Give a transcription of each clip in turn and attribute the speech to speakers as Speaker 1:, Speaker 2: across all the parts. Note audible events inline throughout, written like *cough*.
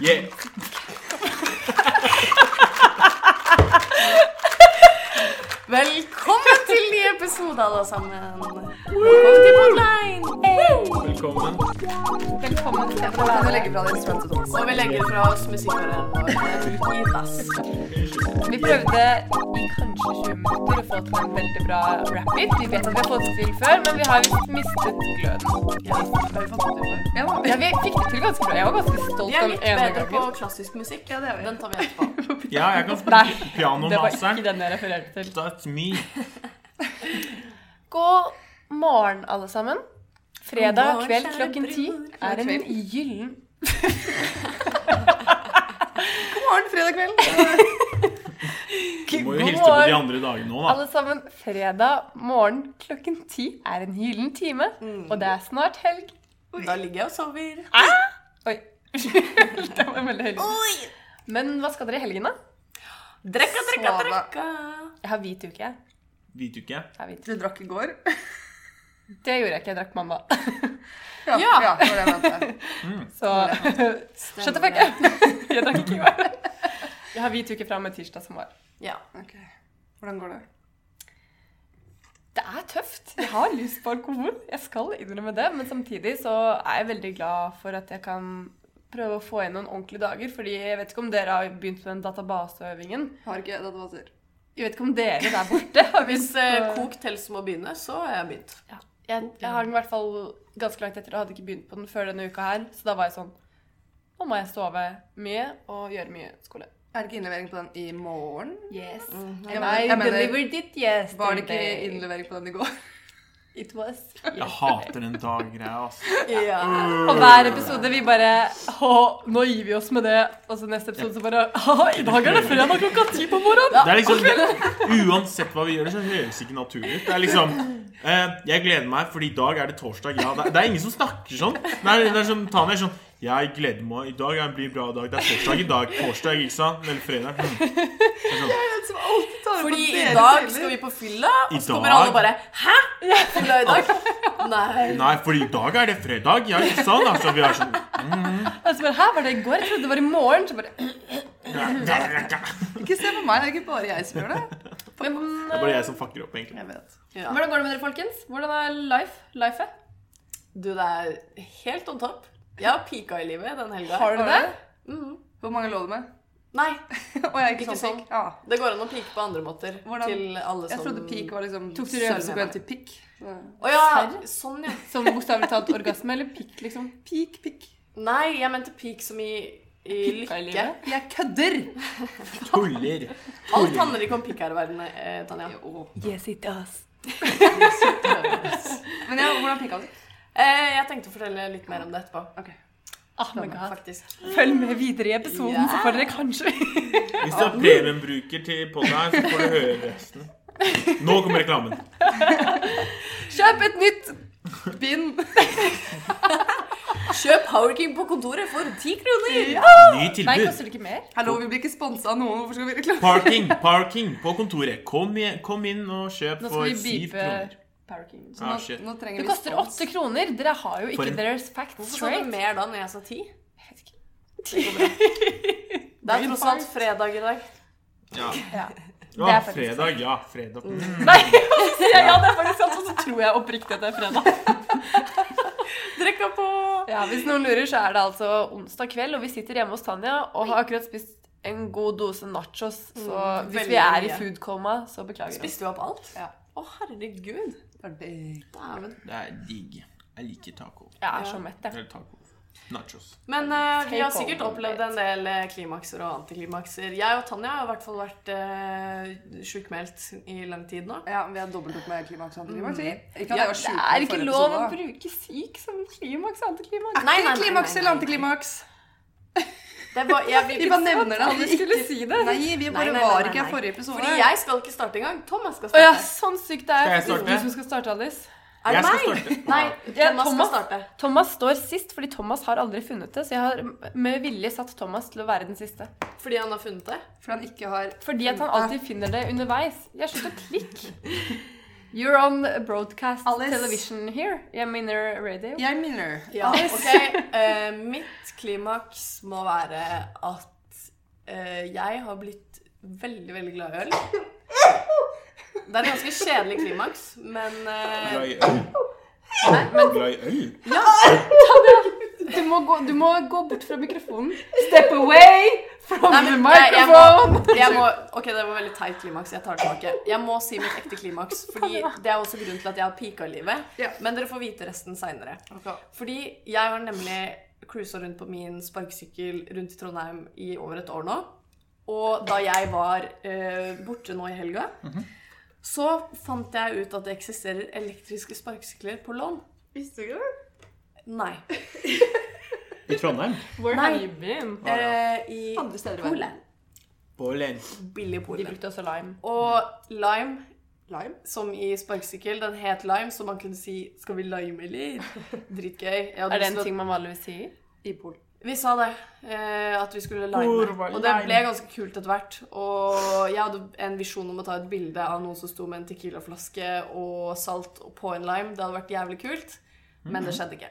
Speaker 1: Yeah.
Speaker 2: Velkommen til nye episoder, alle sammen. Velkommen til Podline.
Speaker 1: Velkommen.
Speaker 3: Velkommen til å
Speaker 2: Kan du legge
Speaker 3: legge fra deg instrumentet
Speaker 2: Og vi legger fra oss musikkkarrieren vår eh, i dass.
Speaker 3: Vi prøvde i kanskje 20 minutter å få til en veldig bra rap-it. Vi vet at vi har fått det til før, men vi har visst mistet gløden. Ja, ja, vi fikk det til ganske bra. Jeg var ganske
Speaker 2: Vi
Speaker 3: stolt
Speaker 2: er
Speaker 3: av
Speaker 2: litt
Speaker 3: ene
Speaker 2: bedre på
Speaker 3: gangen.
Speaker 2: klassisk musikk. Ja, det er vi. Den tar vi etterpå.
Speaker 1: Ja, jeg kan
Speaker 3: Nei,
Speaker 1: spille
Speaker 3: det var
Speaker 1: pianomasteren.
Speaker 3: ikke den jeg refererte til.
Speaker 1: That's me.
Speaker 3: God morgen, alle sammen.
Speaker 2: God
Speaker 3: Fredag
Speaker 2: morgen,
Speaker 3: kveld
Speaker 2: kjære
Speaker 3: klokken ti
Speaker 2: bror.
Speaker 3: er en
Speaker 2: God
Speaker 3: gyllen
Speaker 2: God morgen, fredag kveld.
Speaker 1: Du må jo hilse på
Speaker 3: God
Speaker 1: de
Speaker 3: morgen.
Speaker 1: andre dagene nå, da.
Speaker 3: Alle sammen, fredag morgen klokken ti er en gyllen time, og det er snart helg.
Speaker 2: Da ligger jeg og sover.
Speaker 3: Oi. det var veldig helg. Men hva skal dere i helgen, da?
Speaker 2: Drekka, drekka,
Speaker 3: Sove.
Speaker 2: drekka.
Speaker 3: Jeg har hvit uke. jeg.
Speaker 1: Vet du ikke?
Speaker 3: Jeg har hvit.
Speaker 4: Du drakk i går?
Speaker 3: Det gjorde jeg ikke. Jeg drakk mandag. *laughs*
Speaker 4: Ja.
Speaker 2: Ja.
Speaker 4: ja det var det jeg mente.
Speaker 3: Så *laughs* Shut the fuck up! *laughs* Jeg drakk ikke i går. Jeg har hvit uke fra og med tirsdag som var.
Speaker 2: Ja.
Speaker 4: Ok. Hvordan går det?
Speaker 3: Det er tøft. Jeg har lyst på alkohol. Jeg skal innrømme det. Men samtidig så er jeg veldig glad for at jeg kan prøve å få inn noen ordentlige dager. Fordi jeg vet ikke om dere har begynt med den databaseøvingen.
Speaker 4: Har ikke databaser.
Speaker 3: Jeg vet ikke om dere der borte har
Speaker 2: Hvis *laughs*
Speaker 3: begynt
Speaker 2: eh,
Speaker 3: på-
Speaker 2: Coop Tels må begynne, så har jeg begynt.
Speaker 3: Ja. Jeg, jeg har den i hvert fall ganske langt etter og hadde ikke begynt på den før denne uka her. Så da var jeg sånn Nå må jeg sove mye og gjøre mye skole.
Speaker 4: Er det ikke innlevering på den i morgen?
Speaker 3: Yes.
Speaker 4: Jeg
Speaker 3: And
Speaker 4: mener-
Speaker 3: I
Speaker 4: jeg mener-
Speaker 3: delivered it yesterday.
Speaker 4: eh, Var det ikke innlevering på *laughs* den i går?
Speaker 3: It was.
Speaker 1: Jeg hater den daggreia, altså.
Speaker 2: Ja.
Speaker 3: Og hver episode vi bare Å, nå gir vi oss med det. Og så neste episode så bare Å, i dag er det fredag klokka ti på morgenen.
Speaker 1: Det er liksom, uansett hva vi gjør, så høres ikke naturlig ut. Det er liksom eh, Jeg gleder meg, for i dag er det torsdag. Ja, det, det er ingen som snakker sånn. Det er, det er sånn Tanja er sånn Jeg gleder meg. I dag er- blir en bra dag. Det er torsdag i dag. Torsdag, ikke sant? Eller fredag. Hm. Det er sånn,
Speaker 4: Den som alltid tar
Speaker 2: Fordi i dag skal vi på fylla,
Speaker 1: I
Speaker 2: og så kommer
Speaker 1: dag?
Speaker 2: alle bare Hæ? Fylla i dag? Nei.
Speaker 1: Nei, for i dag er det fredag. Ja, ikke sant? Altså, vi er sånn
Speaker 3: Og så bare Hæ, var det i går? Jeg trodde det var i morgen. Så bare
Speaker 4: Ikke se på meg, det er ikke bare jeg som gjør det.
Speaker 3: Men
Speaker 1: Det er bare jeg som fucker opp, egentlig.
Speaker 4: Jeg vet.
Speaker 2: Ja.
Speaker 3: hvordan går det med dere, folkens? Hvordan er life? Life?
Speaker 2: Du, det er helt on top. Jeg har pika i livet den helga.
Speaker 3: Har du det?
Speaker 2: Mhm.
Speaker 4: Hvor mange lå du med?
Speaker 2: Nei.
Speaker 4: Og jeg er ikke,
Speaker 2: Ikke
Speaker 4: sånn
Speaker 2: sånn.
Speaker 4: pikk. Ja.
Speaker 2: Det går an å pike på andre måter.
Speaker 4: Hvordan-
Speaker 2: Til alle som
Speaker 4: Jeg trodde pikk var liksom
Speaker 3: Tok du det
Speaker 4: subsequent til pikk.
Speaker 2: Å ja.
Speaker 3: Serr?
Speaker 2: Sånn, ja.
Speaker 3: Som bokstavelig talt orgasme eller pikk, liksom?
Speaker 4: Pikk, pikk.
Speaker 2: Nei, jeg mente pik som i, i
Speaker 3: Pika i
Speaker 2: lykke.
Speaker 3: livet?
Speaker 4: Jeg kødder!
Speaker 1: Tuller.
Speaker 2: Alt handler ikke om pikk her i verden, eh, Tanja.
Speaker 3: Yes, it does.
Speaker 4: Men ja, hvordan pikka du?
Speaker 2: Eh, jeg tenkte å fortelle litt mer om det etterpå.
Speaker 4: Ok.
Speaker 3: Oh my god.
Speaker 2: Faktisk.
Speaker 3: Følg med videre i episoden,
Speaker 2: Ja.
Speaker 3: så får dere kanskje
Speaker 1: Hvis du er premiumbruker til podden her, så får du høre resten. Nå kommer reklamen.
Speaker 3: Kjøp et nytt!
Speaker 4: Bind.
Speaker 2: Kjøp Howerking på kontoret for ti kroner!
Speaker 1: Ny
Speaker 3: Nei,
Speaker 1: tilbud.
Speaker 3: koster det ikke altså- mer?
Speaker 4: Hallo, vi blir ikke sponsa av noen. Hvorfor skal vi reklame?
Speaker 1: Parking, parking på kontoret. Kom, i- kom inn og kjøp
Speaker 3: Nå
Speaker 1: for
Speaker 3: skal vi
Speaker 1: syv
Speaker 3: beepe
Speaker 1: kroner.
Speaker 3: Paraking.
Speaker 1: Ah,
Speaker 4: Nå,
Speaker 1: shit.
Speaker 4: nå trenger
Speaker 3: Det
Speaker 4: vi
Speaker 3: koster
Speaker 4: spons.
Speaker 3: åtte kroner! Dere har jo
Speaker 1: For
Speaker 3: ikke
Speaker 1: en-
Speaker 3: deres facts
Speaker 2: Hvorfor sa du
Speaker 3: straight.
Speaker 2: mer da når jeg sa ti?
Speaker 3: Jeg vet ikke.
Speaker 2: Det går bra. Det er tross alt fredag i dag.
Speaker 1: Ja.
Speaker 3: Ja. Det
Speaker 1: ja,
Speaker 3: er faktisk-
Speaker 1: fredag. Ja, fredag. Mm.
Speaker 3: Nei, hva sier jeg? *laughs* ja, det er faktisk sant, og *laughs* så tror jeg oppriktig at det er fredag.
Speaker 2: Drekka på!
Speaker 3: Ja, Hvis noen lurer, så er det altså onsdag kveld, og vi sitter hjemme hos Tanja og har akkurat spist en god dose nachos. Så
Speaker 2: Mm,
Speaker 3: hvis
Speaker 2: veldig
Speaker 3: vi er i
Speaker 2: mye.
Speaker 3: food-koma, så beklager vi.
Speaker 2: Spiste du opp alt?
Speaker 3: Ja.
Speaker 2: Å, herregud.
Speaker 4: Ferdig.
Speaker 2: Dæven.
Speaker 1: Det er digg. Jeg liker taco.
Speaker 3: Jeg er så mett, jeg.
Speaker 1: Eller taco. Nachos.
Speaker 2: Men eh, vi
Speaker 3: Take
Speaker 2: har sikkert
Speaker 3: over.
Speaker 2: opplevd en del eh, klimakser og antiklimakser. Jeg og Tanja har i hvert fall vært uh, sjukmeldt i lang tid nå.
Speaker 4: Ja, vi har dobbelt opp med klimaks. Mm. Ikke
Speaker 2: Ja,
Speaker 4: at jeg var
Speaker 3: Det er
Speaker 4: sjuk i
Speaker 3: ikke
Speaker 4: forrige
Speaker 3: lov å
Speaker 4: episode, da.
Speaker 3: bruke syk som klimaks og antiklimaks.
Speaker 2: Nei, nei,
Speaker 4: Ikke
Speaker 2: nei,
Speaker 4: klimaks
Speaker 2: nei,
Speaker 4: eller
Speaker 2: nei.
Speaker 4: antiklimaks.
Speaker 2: Det var, jeg, vi,
Speaker 4: *laughs* Vi bare nevner det.
Speaker 3: Vi skulle si det.
Speaker 4: Nei, vi bare
Speaker 2: Nei, nei, nei,
Speaker 4: var
Speaker 2: nei,
Speaker 4: ikke
Speaker 2: nei.
Speaker 4: her forrige episode.
Speaker 2: Fordi jeg skal ikke starte engang. Thomas skal
Speaker 3: Å ja,
Speaker 2: starte.
Speaker 3: sånn sykt det er.
Speaker 1: Skal jeg starte?
Speaker 3: Du som skal starte, Alice.
Speaker 2: Er det
Speaker 1: Jeg skal
Speaker 2: meg?
Speaker 1: starte.
Speaker 2: Nei,
Speaker 3: Ja,
Speaker 2: Thomas skal
Speaker 3: Thomas.
Speaker 2: starte.
Speaker 3: Thomas står sist fordi Thomas har aldri funnet det. Så jeg har med vilje satt Thomas til å være den siste.
Speaker 2: Fordi han har funnet det.
Speaker 4: For han ikke har
Speaker 3: Fordi at han alltid finner det underveis. Jeg slutter klikk. *laughs* You're on broadcast
Speaker 4: Alice.
Speaker 3: television here. Jeg mener radio.
Speaker 4: Jeg Ah, minner.
Speaker 2: Ja,
Speaker 4: Alice.
Speaker 2: ok. Eh, mitt klimaks må være at eh, jeg har blitt veldig, veldig glad
Speaker 4: *laughs*
Speaker 2: i øl. Det er en ganske kjedelig klimaks, men eh,
Speaker 1: Glad i øl. Glad i øl?
Speaker 3: Du, må gå, du må gå bort fra mikrofonen. Step away from
Speaker 2: Nei, men
Speaker 3: the
Speaker 2: jeg- jeg
Speaker 3: microphone.
Speaker 2: jeg må, ok, det var veldig teit klimaks. Jeg tar det tilbake. Jeg må si mitt ekte klimaks, fordi det er også grunnen til at jeg har pika i livet.
Speaker 4: Ja.
Speaker 2: Men dere får vite resten seinere. Fordi jeg har nemlig cruisa rundt på min sparkesykkel rundt i Trondheim i over et år nå. Og da jeg var eh, borte nå i helga,
Speaker 4: Mhm.
Speaker 2: så fant jeg ut at det eksisterer elektriske sparkesykler på lån.
Speaker 4: Visste du ikke det?
Speaker 2: Nei.
Speaker 1: I Trondheim?
Speaker 3: Where
Speaker 2: Nei.
Speaker 3: you been?
Speaker 1: Ah, ja.
Speaker 2: Eh, I
Speaker 4: Andre steder i verden.
Speaker 2: Polen.
Speaker 1: På Len.
Speaker 2: Billig
Speaker 3: De
Speaker 2: Polen.
Speaker 3: brukte også lime.
Speaker 2: Og lime
Speaker 4: Lime?
Speaker 2: Som i sparkesykkel. Den het Lime, så man kunne si 'skal vi lime', eller? Dritgøy. Jeg hadde
Speaker 3: Er det
Speaker 2: lyst
Speaker 3: en
Speaker 2: til
Speaker 3: ting man vanligvis sier?
Speaker 4: I Polen.
Speaker 2: at- Vi sa det. eh, At vi skulle lime.
Speaker 1: Hvor var
Speaker 2: Og det
Speaker 1: lime?
Speaker 2: ble ganske kult etter hvert. Og jeg hadde en visjon om å ta et bilde av noen som sto med en Tequila-flaske og salt på en lime. Det hadde vært jævlig kult. Men det skjedde ikke.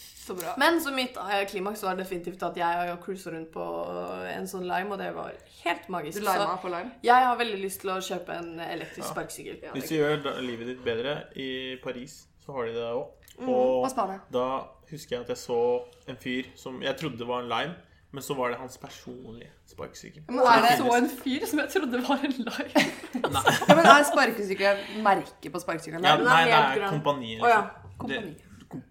Speaker 4: Så bra.
Speaker 2: Men så mitt eh, klimaks var definitivt at jeg cruisa rundt på en sånn lime, og det var helt magisk.
Speaker 4: Du lima
Speaker 2: Så
Speaker 4: på lime?
Speaker 2: jeg har veldig lyst til å kjøpe en elektrisk sparkesykkel.
Speaker 1: Hvis du gjør da- livet ditt bedre i Paris, så har de det òg. Og
Speaker 4: Og Spania.
Speaker 1: da husker jeg at jeg så en fyr som jeg trodde var en lime, men så var det hans personlige sparkesykkel.
Speaker 4: Men er det
Speaker 3: Så en fyr som jeg trodde var en lime.
Speaker 4: Ja, men er sparkesykkelen merket på sparkesykkelen?
Speaker 1: Ja,
Speaker 4: der?
Speaker 1: nei, det
Speaker 2: helt
Speaker 1: er
Speaker 2: grønn.
Speaker 1: kompaniet.
Speaker 2: Å ja.
Speaker 1: Liksom.
Speaker 4: Kompani.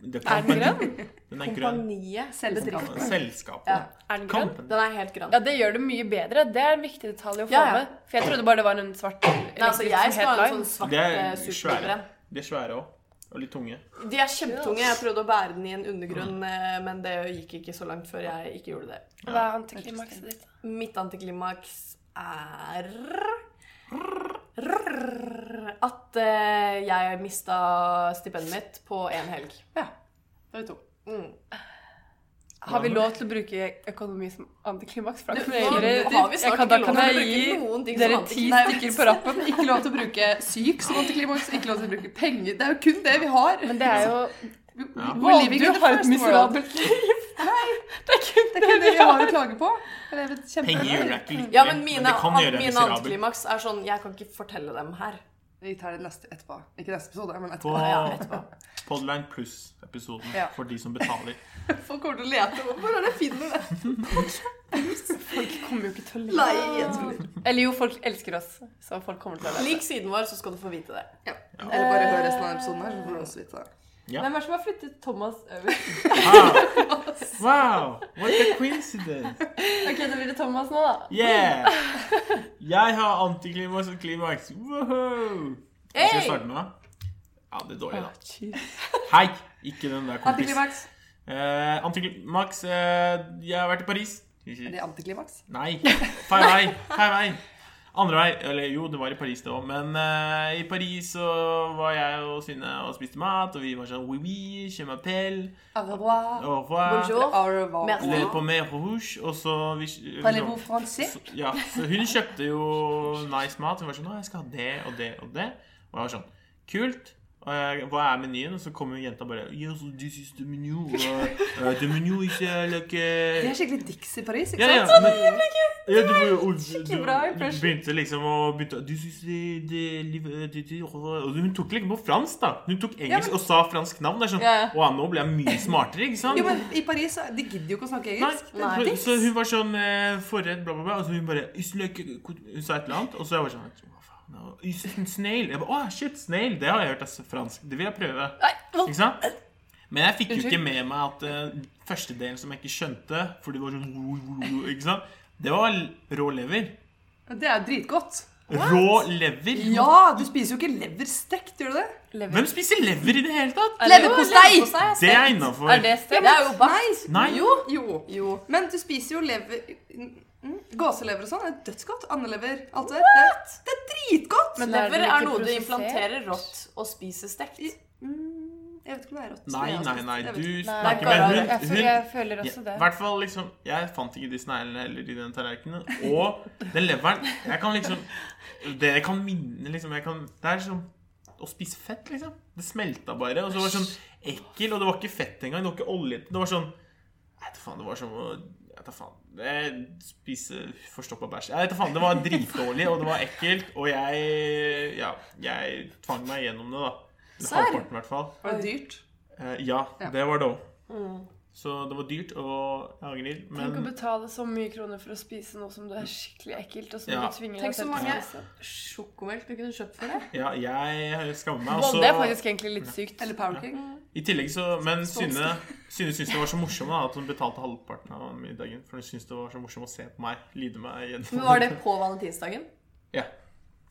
Speaker 1: Det, det
Speaker 3: *laughs* Er den grønn?
Speaker 1: Den er grønn.
Speaker 4: Selskap.
Speaker 1: Selskapet.
Speaker 2: Ja.
Speaker 3: Er den grønn?
Speaker 1: Kampen.
Speaker 2: Den er helt grønn.
Speaker 3: Ja, det gjør det mye bedre. Det er en viktig detalj å få
Speaker 2: Ja, ja.
Speaker 3: med. For jeg trodde bare det var en svart
Speaker 2: Nei, altså,
Speaker 3: elektrisk
Speaker 2: jeg
Speaker 3: som
Speaker 2: skal
Speaker 3: het
Speaker 2: ha en
Speaker 3: lime.
Speaker 2: sånn svart
Speaker 1: Det
Speaker 2: eh,
Speaker 1: er svære.
Speaker 2: superbrenn.
Speaker 1: De er svære òg. Og litt tunge.
Speaker 2: De er kjempetunge. Jeg prøvde å bære den i en undergrunn, eh, men det gikk ikke så langt før jeg ikke gjorde det.
Speaker 3: Hva er antiklimakset ditt?
Speaker 2: Mitt antiklimaks er at eh, jeg mista stipendet mitt på én helg.
Speaker 4: Ja. Det er vi to.
Speaker 2: Mm.
Speaker 3: Har vi lov til å bruke økonomi som antiklimaks? For da
Speaker 2: Du, nå
Speaker 3: kan jeg gi dere-
Speaker 2: har vi
Speaker 3: jeg
Speaker 2: snart
Speaker 3: kan, da
Speaker 2: ikke
Speaker 3: kan
Speaker 2: lov til å
Speaker 3: jeg
Speaker 2: bruke
Speaker 3: gi
Speaker 2: noen ting som
Speaker 3: dere ti
Speaker 2: antiklimaks.
Speaker 3: stykker på rappen.
Speaker 4: Ikke lov til å bruke syk som antiklimaks, ikke lov til å bruke penger. Det er jo kun det vi har.
Speaker 3: Men det er jo
Speaker 1: Ja.
Speaker 4: We're
Speaker 3: Å,
Speaker 4: living
Speaker 3: du
Speaker 4: in the
Speaker 3: har et
Speaker 4: first world.
Speaker 3: miserabelt liv! Det er kun
Speaker 4: Det er ikke det vi har å klage på. Det er et kjempe-
Speaker 1: Penger gjør deg ikke lykkelig,
Speaker 2: Ja, men mine,
Speaker 1: det kan gjøre deg
Speaker 2: mine
Speaker 1: miserabel.
Speaker 2: antiklimaks er sånn Jeg kan ikke fortelle dem her.
Speaker 4: Vi tar det neste etterpå. Ikke neste episode, men etterpå.
Speaker 1: På Podline Plus-episoden
Speaker 4: Ja.
Speaker 1: for de som betaler.
Speaker 4: Folk kommer til å lete. Hvor er det finner det?
Speaker 3: Folk kommer jo ikke til å le.
Speaker 4: Nei, jeg tror det.
Speaker 3: Eller jo, folk elsker oss, så folk kommer til å le.
Speaker 2: Lik siden vår, så skal du få vite det.
Speaker 4: Eller bare hør resten av episoden her, så får du også vite det.
Speaker 1: Ja.
Speaker 3: Hvem er det som har flyttet Thomas over?
Speaker 1: Ah. Wow! What a coincidence!
Speaker 3: Ok, Da blir det Thomas nå, da.
Speaker 1: Yeah! Jeg har antiklimaks og klimaks. Woho! Skal jeg starte nå? Ja, det er dårlig, da. Hei! Ikke den der, kompis.
Speaker 4: Antiklimaks.
Speaker 1: Eh, antiklimaks eh, Jeg har vært i Paris.
Speaker 4: Er det antiklimaks?
Speaker 1: Nei. Feil vei. Feil vei. Andre vei. Eller jo, det var i Paris, det òg. Men eh, i Paris så var jeg og Synne og spiste mat, og vi var sånn oui, oui, je m'appelle,
Speaker 4: Au revoir.
Speaker 1: au revoir,
Speaker 2: Bonjour.
Speaker 4: Au revoir.
Speaker 2: Merci.
Speaker 1: le pommet rouge, og så vi,
Speaker 4: Parlez-vous français?
Speaker 1: så, ja, så hun kjøpte jo nice mat. Hun var sånn 'Å, jeg skal ha det og det og det.' Og jeg var sånn 'Kult. Og jeg, hva er menyen?' Og så kommer jenta bare 'Yes, this is the menu. Uh, uh, the menu is uh, like uh,
Speaker 4: Det er skikkelig dicks i Paris, ikke
Speaker 1: ja, ja,
Speaker 4: sant?
Speaker 1: men, ja, du, og, du,
Speaker 3: skikkelig bra impression.
Speaker 1: du begynte liksom å bytte Du synes det, det, livet- det, det uh, og Hun tok liksom på fransk, da. Hun tok engelsk og sa fransk navn. Det er sånn
Speaker 3: Ja, ja.
Speaker 1: Å, nå ble jeg mye smartere, ikke sant?
Speaker 4: Jo, men i Paris, så- de gidder jo ikke å snakke engelsk.
Speaker 1: Nei,
Speaker 2: Nei.
Speaker 1: for- Så hun var sånn eh, forredd, bla, bla, bla. Og så hun bare «Is like a- Hun sa et eller annet, og så jeg var sånn Hva faen? nå? Is it a snail? Jeg bare, Å, shit, snail. Det har jeg hørt er fransk. Det vil jeg prøve. Ikke sant? Men jeg fikk jo ikke med meg at eh, første delen som jeg ikke skjønte Fordi det var sånn Ikke sant? Det var l- rå lever.
Speaker 4: Det er jo dritgodt.
Speaker 1: Rå lever?
Speaker 4: Ja, du spiser jo ikke lever stekt, gjør du det?
Speaker 3: Lever.
Speaker 1: Hvem spiser lever i det hele tatt?
Speaker 3: Er det-
Speaker 4: Leverpostei!
Speaker 1: Det er innafor.
Speaker 3: Er det
Speaker 2: Det
Speaker 3: stekt?
Speaker 2: er jo bakt.
Speaker 4: Nei.
Speaker 1: Nei.
Speaker 4: Jo. jo.
Speaker 2: Jo.
Speaker 4: Men du spiser jo lever mm, Gåselever og sånn er dødsgodt. Andelever. Alt det. Det er, det er dritgodt!
Speaker 3: Men
Speaker 2: Lever
Speaker 3: den ikke
Speaker 2: er noe du
Speaker 3: prosessert?
Speaker 2: implanterer rått og spiser stekt.
Speaker 4: I- mm, Jeg vet ikke om det er rått.
Speaker 1: Nei,
Speaker 4: det er
Speaker 1: nei,
Speaker 4: avsnitt.
Speaker 1: nei,
Speaker 4: Jeg vet
Speaker 1: du
Speaker 4: ikke.
Speaker 3: Nei,
Speaker 1: snakker
Speaker 2: bare-
Speaker 1: med
Speaker 3: jeg,
Speaker 1: hun.
Speaker 3: føler,
Speaker 1: hun
Speaker 3: jeg føler også
Speaker 1: ja,
Speaker 3: det.
Speaker 1: I hvert fall liksom Jeg fant ikke disse neglene heller i den tallerkenen. Og den leveren Jeg kan liksom Det jeg kan minne liksom, jeg kan, Det er som å spise fett, liksom. Det smelta bare. Og så var det sånn ekkel, og det var ikke fett engang. Det var ikke olje. Det var sånn Jeg vet da faen, det var som å Jeg vet da faen. Jeg spise forstoppa bæsj. Jeg vet da faen, Det var dritdårlig, og det var ekkelt, og jeg Ja, jeg tvang meg gjennom det, da. Eller
Speaker 4: Serr?
Speaker 1: Halvparten, i hvert fall.
Speaker 4: Var det dyrt?
Speaker 1: Eh, ja,
Speaker 4: Ja.
Speaker 1: det var det òg. Så det var dyrt, og jeg angrer.
Speaker 3: Tenk å
Speaker 1: Men
Speaker 3: betale så mye kroner for å spise noe som det er skikkelig ekkelt. Og som
Speaker 1: Ja.
Speaker 3: du tvinger
Speaker 2: Tenk
Speaker 3: deg selv
Speaker 2: så
Speaker 3: til å
Speaker 2: mange-
Speaker 3: spise.
Speaker 2: Sjokomelk du kunne kjøpt for det.
Speaker 1: ja, jeg skammer meg.
Speaker 3: Wow, det er
Speaker 1: Og så,
Speaker 3: faktisk egentlig litt sykt.
Speaker 4: Eller Power King?
Speaker 1: i tillegg så, men Synne Synne syntes det var så morsomt da, at hun betalte halvparten av middagen. For hun syntes det var så morsomt å se på meg lide meg
Speaker 2: *laughs* Men
Speaker 1: gjennom
Speaker 2: Var det på valentinsdagen?
Speaker 1: *laughs* Ja,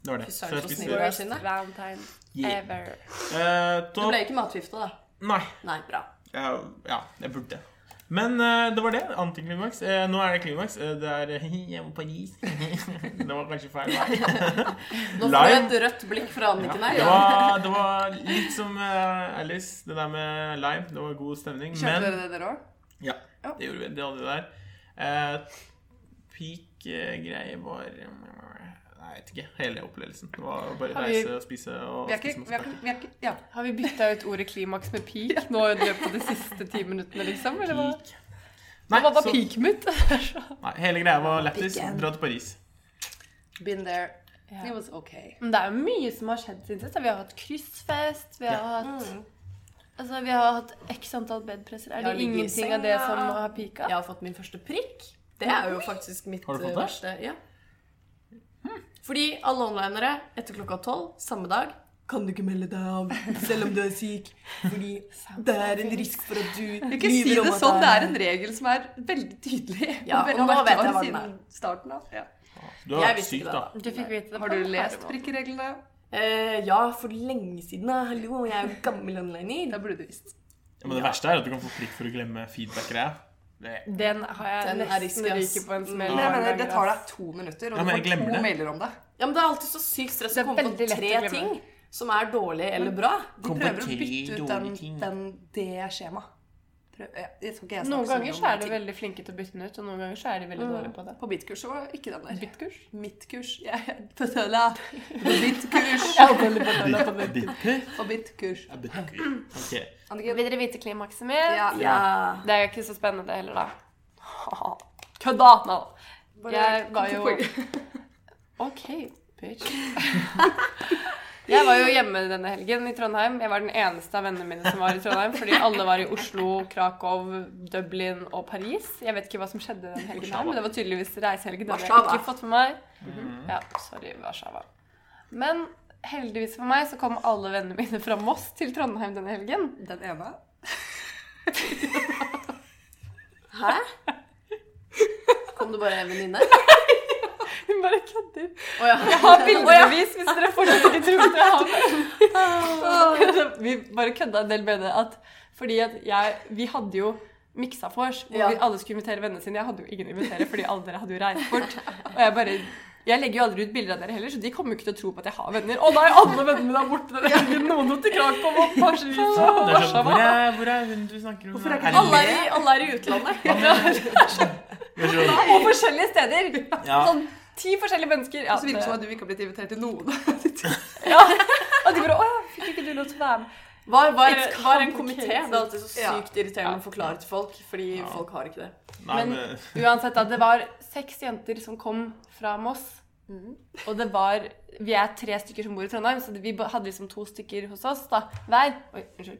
Speaker 1: det var det.
Speaker 2: Fy
Speaker 1: Så
Speaker 2: søren,
Speaker 1: jeg
Speaker 2: så
Speaker 1: spiste-
Speaker 2: snill du er.
Speaker 3: Worst
Speaker 2: Synne.
Speaker 3: valentine
Speaker 1: Yeah.
Speaker 3: ever.
Speaker 1: Eh,
Speaker 2: Du
Speaker 1: topp-
Speaker 2: ble ikke matforgifta, da?
Speaker 1: Nei.
Speaker 2: Nei, bra.
Speaker 1: Ja, ja, jeg burde. Men eh, det var det. Antiklimaks. Eh, nå er det klimaks. Eh, det er *laughs* Jeg må Paris. det var kanskje feil vei.
Speaker 2: Nå får du
Speaker 1: Lime.
Speaker 2: et rødt blikk fra Anniken her.
Speaker 1: Det var, det var litt som eh, Alice, det der med lime. Det var god stemning.
Speaker 4: Kjente
Speaker 1: Men
Speaker 4: dere det dere òg?
Speaker 1: ja, det gjorde vi. Det hadde vi der. Eh, peak eh, greie var Nei, jeg vet ikke. Hele opplevelsen. Det var bare
Speaker 3: Har vi-
Speaker 1: reise og spise og
Speaker 4: Vi er ikke,
Speaker 1: spise
Speaker 4: vi er
Speaker 1: masse
Speaker 4: ikke, vi er ikke Ja.
Speaker 3: Har vi bytta ut ordet klimaks med *laughs* peak nå i løpet av de siste ti minuttene, liksom? Eller hva?
Speaker 1: peak.
Speaker 3: Nei,
Speaker 1: Nei,
Speaker 3: hva var
Speaker 1: så,
Speaker 3: peaket mitt?
Speaker 1: *laughs* nei, hele greia var lættis. Dra til Paris.
Speaker 2: Been there. It
Speaker 3: Ja.
Speaker 2: was okay.
Speaker 3: Men det er jo mye som har skjedd siden sist. da. Vi har hatt kryssfest, vi har hatt Altså, vi har hatt x antall bedpresser. Er
Speaker 2: Ja,
Speaker 3: det
Speaker 2: ligge i
Speaker 3: ingenting av
Speaker 2: senga.
Speaker 3: det som har pika?
Speaker 2: Jeg har fått min første prikk. Det er jo faktisk mitt
Speaker 1: Har du fått
Speaker 2: eh,
Speaker 1: det?
Speaker 2: verste. Ja. Fordi alle onlinere etter klokka tolv samme dag kan du ikke melde deg av selv om du er syk. Fordi det er en risk for at du
Speaker 4: Du kan ikke si
Speaker 2: lyver om
Speaker 4: det
Speaker 2: at
Speaker 4: sånn. Det er en regel som er veldig tydelig. *laughs*
Speaker 2: Ja, og
Speaker 4: veldig- har
Speaker 2: nå
Speaker 4: vært
Speaker 2: vet jeg
Speaker 4: klar
Speaker 2: hva den
Speaker 4: siden Starten av. Ja.
Speaker 1: Du har
Speaker 2: Jeg
Speaker 1: vært
Speaker 2: visste
Speaker 1: syk,
Speaker 2: ikke det,
Speaker 1: da.
Speaker 2: da.
Speaker 3: Du fikk vite det
Speaker 4: Har
Speaker 3: på
Speaker 4: du
Speaker 3: en
Speaker 4: lest
Speaker 3: ferdig måte.
Speaker 4: prikkereglene?
Speaker 2: Eh, ja, for lenge siden. da. Hallo, jeg er jo gammel onliner.
Speaker 4: Det burde du visst.
Speaker 1: Ja, men det verste er at du kan få prikk for å glemme feedback-greia. Det
Speaker 3: Den har jeg
Speaker 2: Den er
Speaker 3: nesten
Speaker 2: risky, ass.
Speaker 3: ryket på en smell.
Speaker 4: Men
Speaker 3: mange
Speaker 4: jeg mener,
Speaker 3: ganger,
Speaker 4: det tar
Speaker 3: ass.
Speaker 4: deg to minutter, og
Speaker 1: Ja,
Speaker 4: du
Speaker 1: men jeg
Speaker 4: får
Speaker 1: glemmer
Speaker 4: to
Speaker 1: det.
Speaker 4: mailer om det.
Speaker 2: Ja, men det er alltid så sykt stress
Speaker 3: Det
Speaker 2: å
Speaker 3: er
Speaker 2: komme på
Speaker 3: veldig lett å
Speaker 2: tre
Speaker 3: glemme.
Speaker 2: ting som er dårlig eller bra.
Speaker 4: De
Speaker 1: Kom på
Speaker 4: prøver å
Speaker 1: tre
Speaker 4: bytte ut
Speaker 1: dårlige
Speaker 4: den,
Speaker 1: ting.
Speaker 4: den, det skjemaet. Prøv- ja, jeg tror ikke jeg snakker
Speaker 3: Noen
Speaker 4: så mye
Speaker 3: ganger
Speaker 4: om
Speaker 3: så er de
Speaker 4: ting. Mm.
Speaker 3: veldig flinke til å bytte den ut, og noen ganger så er de veldig dårlige på det.
Speaker 4: På mitt kurs så var ikke den der.
Speaker 3: Byttkurs?
Speaker 4: Mitt kurs. Jeg er på *laughs* Tøla. På mitt kurs.
Speaker 3: Jeg holdt veldig på å ta det.
Speaker 1: Ditt- ditt kuk
Speaker 4: På mitt kurs.
Speaker 1: er ditt kuk. Ok.
Speaker 4: Anniken.
Speaker 3: Vil dere vite klimakset mitt?
Speaker 4: Ja.
Speaker 2: Ja.
Speaker 3: Det er jo ikke så spennende heller,
Speaker 4: *laughs*
Speaker 3: da. Kødda! Nå. Jeg var jo OK, bitch. *laughs* Jeg var jo hjemme denne helgen i Trondheim. Jeg var den eneste av vennene mine som var i Trondheim, fordi alle var i Oslo, Krakow, Dublin og Paris. Jeg vet ikke hva som skjedde den helgen her, men det var tydeligvis reisehelgen. Det hadde
Speaker 2: Warszawa.
Speaker 3: jeg ikke fått med meg. Ja, sorry, Warszawa. Men heldigvis for meg så kom alle vennene mine fra Moss til Trondheim denne helgen. *laughs*
Speaker 4: Den ene.
Speaker 2: Hæ? Kom det bare en venninne?
Speaker 3: Hun bare kødder.
Speaker 2: Å ja.
Speaker 3: Jeg har bildebevis hvis dere fortsatt ikke tror at jeg har det. *laughs* Vi bare kødda en del med det. At, fordi at jeg, vi hadde jo miksa vors, hvor
Speaker 2: Ja.
Speaker 3: vi alle skulle invitere vennene sine. Jeg hadde jo ingen å invitere, fordi alle dere hadde jo reist bort. Og jeg bare... Jeg legger jo aldri ut bilder av dere heller, så de kommer jo ikke til å tro på at jeg har venner. Å nei, alle vennene mine er borte denne helgen. Noen dro til Krakow og Paris
Speaker 1: Det er
Speaker 3: og
Speaker 1: sånn, Hvor
Speaker 3: Warszawa.
Speaker 1: er, hvor er hun du snakker om?
Speaker 4: Hvorfor er ikke
Speaker 1: det
Speaker 2: alle, er i, alle er i utlandet.
Speaker 1: Vi er sånn,
Speaker 3: Og forskjellige steder.
Speaker 1: Ja.
Speaker 3: Sånn ti forskjellige mennesker. Ja,
Speaker 4: Og så virker det som
Speaker 3: det-
Speaker 4: at du ikke har blitt invitert til noen.
Speaker 3: Ja. Og de bare Å ja, fikk ikke du lov til å være med?
Speaker 2: Var, var,
Speaker 3: It's
Speaker 2: var en komité.
Speaker 3: complicated.
Speaker 2: Det er alltid så
Speaker 4: Ja.
Speaker 2: sykt irriterende å forklare til folk, fordi folk har ikke det.
Speaker 1: Nei,
Speaker 3: Men-
Speaker 1: men
Speaker 3: Uansett, da. Det var seks jenter som kom fra Moss.
Speaker 2: Mm.
Speaker 3: Og det var Vi er tre stykker som bor i Trondheim, så vi ba- hadde liksom to stykker hos oss da, hver. Oi, unnskyld.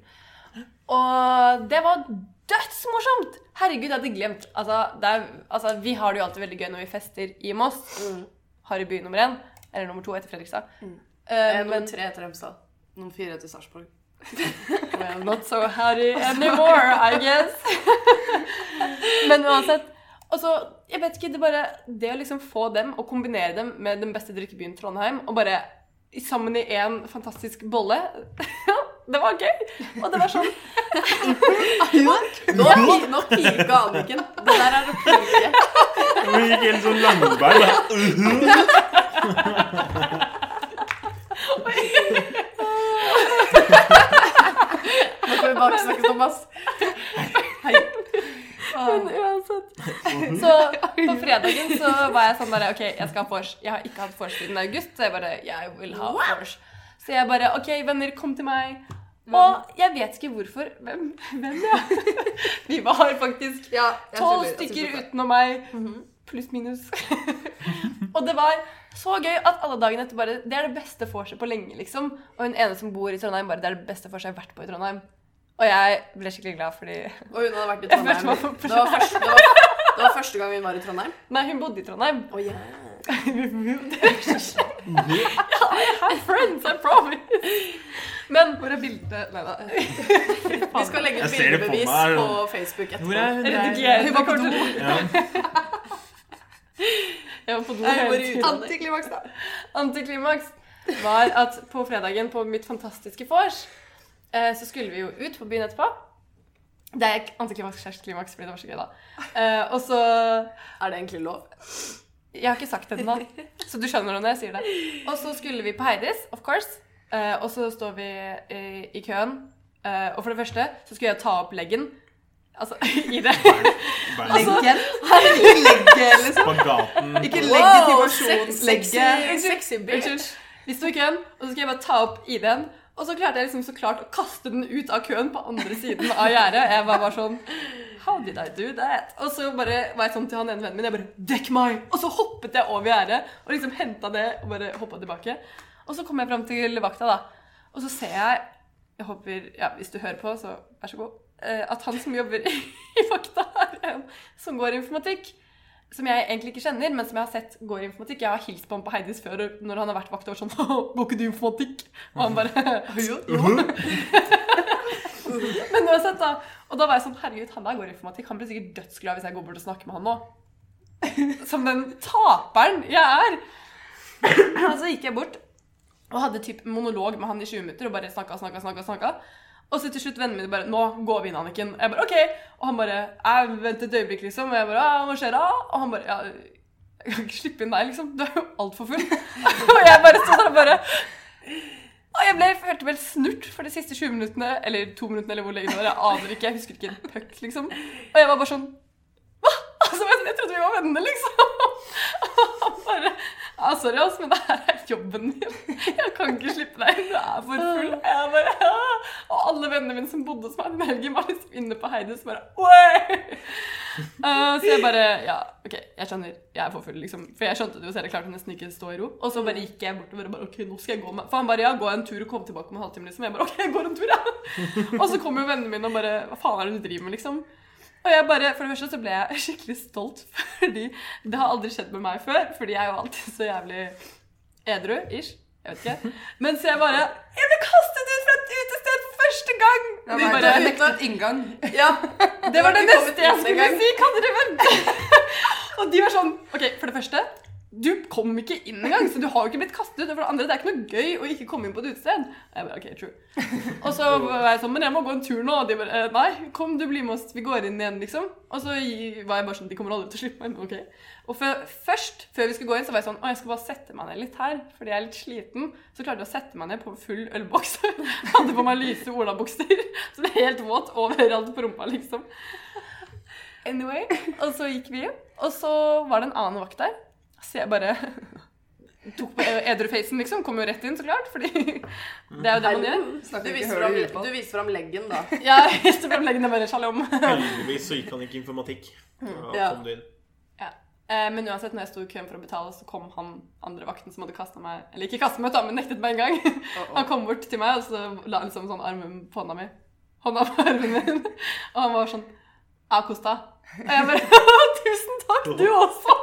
Speaker 3: Og det var dødsmorsomt! Herregud, jeg hadde glemt altså, det er, altså, vi har det jo alltid veldig gøy når vi fester i Moss.
Speaker 2: Mm.
Speaker 3: Har i by nummer én. Eller nummer to etter Fredrikstad. Eh,
Speaker 2: Eh,
Speaker 3: men
Speaker 2: Nummer tre etter Hemsedal.
Speaker 4: Noen fire til Sarpsborg.
Speaker 3: Well, not so hairy anymore, I guess. *laughs* Men uansett. Og så, jeg vet ikke, det bare Det å liksom få dem og kombinere dem med den beste drikkebyen Trondheim, og bare i- sammen i én fantastisk bolle *laughs* Det var gøy! Og det var sånn
Speaker 2: *laughs* Nå, pi- nå pika Anniken. Det der er å pike.
Speaker 1: Hun gikk helt sånn langbein. da.
Speaker 2: Nå kan vi Thomas.
Speaker 3: Men uansett. Så på fredagen så var jeg sånn bare OK, jeg skal ha vors. Jeg har ikke hatt vors siden august, så jeg bare Jeg vil ha vors. Så jeg bare OK, venner, kom til meg. Og jeg vet ikke hvorfor Hvem? *laughs* Hvem, ja? Vi var faktisk
Speaker 4: Ja, jeg
Speaker 3: tolv
Speaker 4: skjønner- jeg
Speaker 3: stykker
Speaker 4: skjønner det. Mhm.
Speaker 3: utenom meg. Pluss,
Speaker 4: *laughs*
Speaker 3: minus. og det var så gøy at alle dagene etter bare Det er det beste vorset på lenge, liksom. Og hun ene som bor i Trondheim, bare Det er det beste vorset jeg har vært på i Trondheim. Og jeg ble skikkelig glad fordi *laughs*
Speaker 2: Og hun hadde vært i
Speaker 3: Jeg følte
Speaker 2: Trondheim.
Speaker 3: meg for
Speaker 2: Det var, første, det, var, det var første gang vi var i Trondheim.
Speaker 3: Nei, hun bodde i Trondheim.
Speaker 4: *laughs*
Speaker 2: Å, ja.
Speaker 3: Have friends, I promise! Men
Speaker 4: Hvor er bildet Nei da.
Speaker 2: Vi skal legge ut
Speaker 1: Jeg ser det på
Speaker 2: bildebevis
Speaker 1: meg,
Speaker 2: på,
Speaker 1: ja.
Speaker 2: Facebook etterpå.
Speaker 1: Hvor er hun
Speaker 3: redigere
Speaker 4: Hun var på do.
Speaker 1: Ja.
Speaker 3: Jeg var på do
Speaker 2: Jeg
Speaker 3: hele
Speaker 2: var i
Speaker 3: tiden.
Speaker 4: Antiklimaks, da.
Speaker 3: Antiklimaks var at på fredagen på mitt fantastiske vors, eh, så skulle vi jo ut på byen etterpå. Det er antiklimaks slash klimaks fordi det var så gøy, da. Eh, og så
Speaker 2: Er det egentlig lov?
Speaker 3: Jeg har ikke sagt det ennå, så du skjønner det når jeg sier det. Og så skulle vi på Heidis, of course. Eh, og så står vi i, i køen. Eh, og for det første så skulle jeg ta opp leggen. Altså *laughs* i det.
Speaker 1: Bergen.
Speaker 4: *laughs* Leggen. Ikke legge, liksom.
Speaker 1: Spagaten.
Speaker 4: Ikke
Speaker 2: Wow,
Speaker 4: legge
Speaker 2: sex-
Speaker 4: til Legge.
Speaker 2: sexy- Sexy bitch.
Speaker 3: Unnskyld. Vi sto i køen, og så skulle jeg bare ta opp ID-en. Og så klarte jeg liksom så klart å kaste den ut av køen på andre siden av gjerdet. Jeg var bare sånn How did I do that? Og så bare var jeg sånn til han ene vennen min. Jeg bare Dekk meg! Og så hoppet jeg over gjerdet og liksom henta det og bare hoppa tilbake. Og så kom jeg fram til vakta, da. Og så ser jeg Jeg håper Ja, hvis du hører på, så vær så god. eh, At han som jobber i *laughs* vakta, er en som går informatikk som jeg egentlig ikke kjenner, men som jeg har sett går i informatikk. Jeg har hilst på han på Heidis før og når han har vært vakt og vært sånn *laughs* «Haha, Går ikke du i informatikk? Og han bare Jo. Men uansett, da. Og da var jeg sånn Herregud, han der går i informatikk. Han blir sikkert dødsglad hvis jeg går bort og snakker med han nå. Som den taperen jeg er. Og så gikk jeg bort og hadde typ monolog med han i 20 minutter og bare snakka, snakka, snakka. snakka. Og så til slutt vennene mine bare 'Nå går vi inn, Anniken.' Og jeg bare 'OK.' Og han bare 'Jeg venter et øyeblikk', liksom. Og jeg bare «Ah, 'Hva skjer da?' Og han bare 'Ja, jeg kan ikke slippe inn deg, liksom. Du er jo altfor full'. *laughs* og jeg bare står der og bare Og jeg ble, følte vel snurt for de siste 20 minuttene, eller to minuttene, eller hvor lenge det var. Jeg aner ikke. Jeg husker ikke en puck, liksom. Og jeg var bare sånn Hva? Altså, jeg, jeg trodde vi var venner, liksom. *laughs* Og han bare ja, sorry, ass, men det her er jobben min. Jeg kan ikke slippe deg inn. Du er for full. Og Jeg bare, «Ja». Og alle vennene mine som bodde hos meg den helgen, var liksom inne på Heidis bare «Oi!» Eh, Så jeg bare Ja, OK, jeg skjønner. Jeg er for full, liksom. For jeg skjønte det jo selv. Jeg klarte nesten ikke å stå i ro. Og så bare gikk jeg bortover og bare OK, nå skal jeg gå meg For han bare Ja, gå en tur og kom tilbake om en halvtime, liksom. Jeg bare OK, jeg går en tur, ja. *laughs* Og så kom jo vennene mine og bare Hva faen er det du driver med, liksom? Og jeg bare, For det første så ble jeg *laughs* skikkelig stolt, fordi det har aldri skjedd med meg før. Fordi jeg er jo alltid så jævlig edru-ish. Jeg vet ikke. Mens jeg bare Jeg ble kastet ut fra et utested for første gang!
Speaker 4: Ja,
Speaker 3: De
Speaker 4: nei,
Speaker 3: bare,
Speaker 4: det er nektet inngang.
Speaker 2: Ja.
Speaker 3: det var det
Speaker 2: Vi kommer
Speaker 3: neste
Speaker 2: inn
Speaker 3: jeg
Speaker 2: en
Speaker 3: skulle
Speaker 2: gang.
Speaker 3: si! Kan dere vente? *laughs* Og de var sånn OK, for det første. Du kom ikke inn engang, så du har jo ikke blitt kastet ut. Og for det andre, det er ikke noe gøy å ikke komme inn på et utested. Og jeg bare, ok, true. Og så var jeg sånn, men jeg må gå en tur nå. Og de bare, «Eh, nei, kom, du blir med oss. Vi går inn igjen, liksom. Og så gi- var jeg bare sånn, de kommer aldri til å slippe meg inn. Ok. Og før- først, før vi skulle gå inn, så var jeg sånn, å, jeg skal bare sette meg ned litt her, fordi jeg er litt sliten. Så klarte jeg å sette meg ned på full ølboks. *laughs* Hadde på meg lyse olabukser, så ble jeg helt våt overalt på rumpa, liksom. Anyway, og så gikk vi, og så var det en annen vakt der. Så jeg bare *laughs* tok på edrufacen, liksom. Kom jo rett inn, så klart, fordi *laughs* det er jo det man gjør.
Speaker 2: Du
Speaker 4: Snakker ikke
Speaker 2: viser
Speaker 4: hører
Speaker 2: fram,
Speaker 4: du på.
Speaker 2: du viser fram leggen, da.
Speaker 3: Ja, *laughs* så fremleggende bare shalom.
Speaker 1: Heldigvis så gikk han ikke informatikk. Da
Speaker 2: Ja.
Speaker 1: kom du inn.
Speaker 3: Eh, Men uansett, når jeg sto i køen for å betale, så kom han andre vakten som hadde kastet meg Eller ikke kastet meg, ut da, men nektet meg en gang. Han kom bort til meg, og så la han liksom sånn armen på hånda mi. Hånda på armen min. Og han var sånn Ja, kos deg. Og jeg bare *laughs* Tusen takk, du også.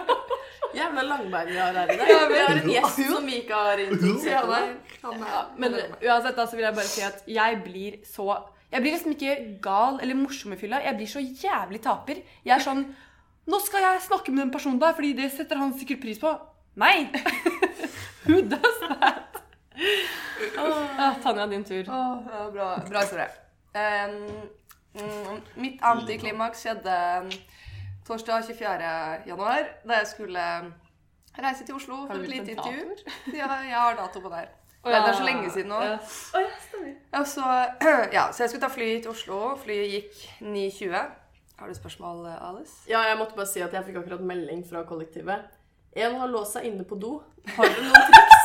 Speaker 2: *laughs* Jævla langbein vi har her i dag.
Speaker 3: Ja,
Speaker 2: Vi har en gjest som vi ikke har
Speaker 4: Ja,
Speaker 2: introdusert.
Speaker 4: nei.
Speaker 2: deg.
Speaker 4: Han er-
Speaker 3: Ja, men uansett da, så vil jeg bare si at jeg blir så Jeg blir liksom ikke gal eller morsom i fylla. Jeg blir så jævlig taper. Jeg er sånn Nå skal jeg snakke med den personen der, fordi det setter han sikkert pris på. Nei! *laughs* Who does that? Ja, Tanja, din tur.
Speaker 4: Åh, ja, bra, bra historie. Em, mm, mitt antiklimaks skjedde torsdag 24. januar, da jeg skulle reise til Oslo
Speaker 3: Har
Speaker 4: for
Speaker 3: du
Speaker 4: et
Speaker 3: blitt
Speaker 4: lite
Speaker 3: en
Speaker 4: intervju. Ja, jeg har dato på der. Det er så lenge siden nå.
Speaker 2: Ja.
Speaker 4: Og så, *clears throat* ja, så jeg skulle ta flyet til Oslo. Flyet gikk 9.20. Har du spørsmål, Alice?
Speaker 2: Ja, jeg måtte bare si at jeg fikk akkurat melding fra kollektivet. En har låst seg inne på do. Har dere noen *laughs* triks?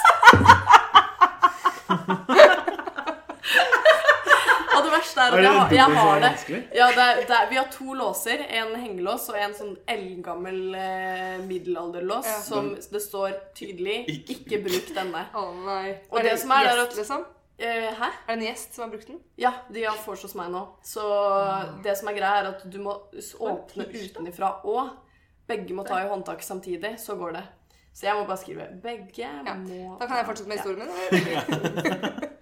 Speaker 2: og det verste er at jeg, har- jeg har det. Ja, det, er- det, er- vi har to låser. En hengelås og en sånn eldgammel eh, middelalderlås
Speaker 4: Ja.
Speaker 2: som det står tydelig 'ikke bruk denne'.
Speaker 4: Å nei.
Speaker 2: Og
Speaker 4: er det,
Speaker 2: det som er,
Speaker 4: gjest,
Speaker 2: er at-
Speaker 4: liksom?
Speaker 2: Eh, hæ?
Speaker 4: Er det en gjest som har brukt den?
Speaker 2: Ja, de har vors hos meg nå. Så det som er greia, er at du må s- åpne utenfra og begge må ta i håndtaket samtidig, så går det. Så jeg må bare skrive 'begge
Speaker 4: Ja,
Speaker 2: må
Speaker 4: Da kan jeg fortsette med historien min. *laughs*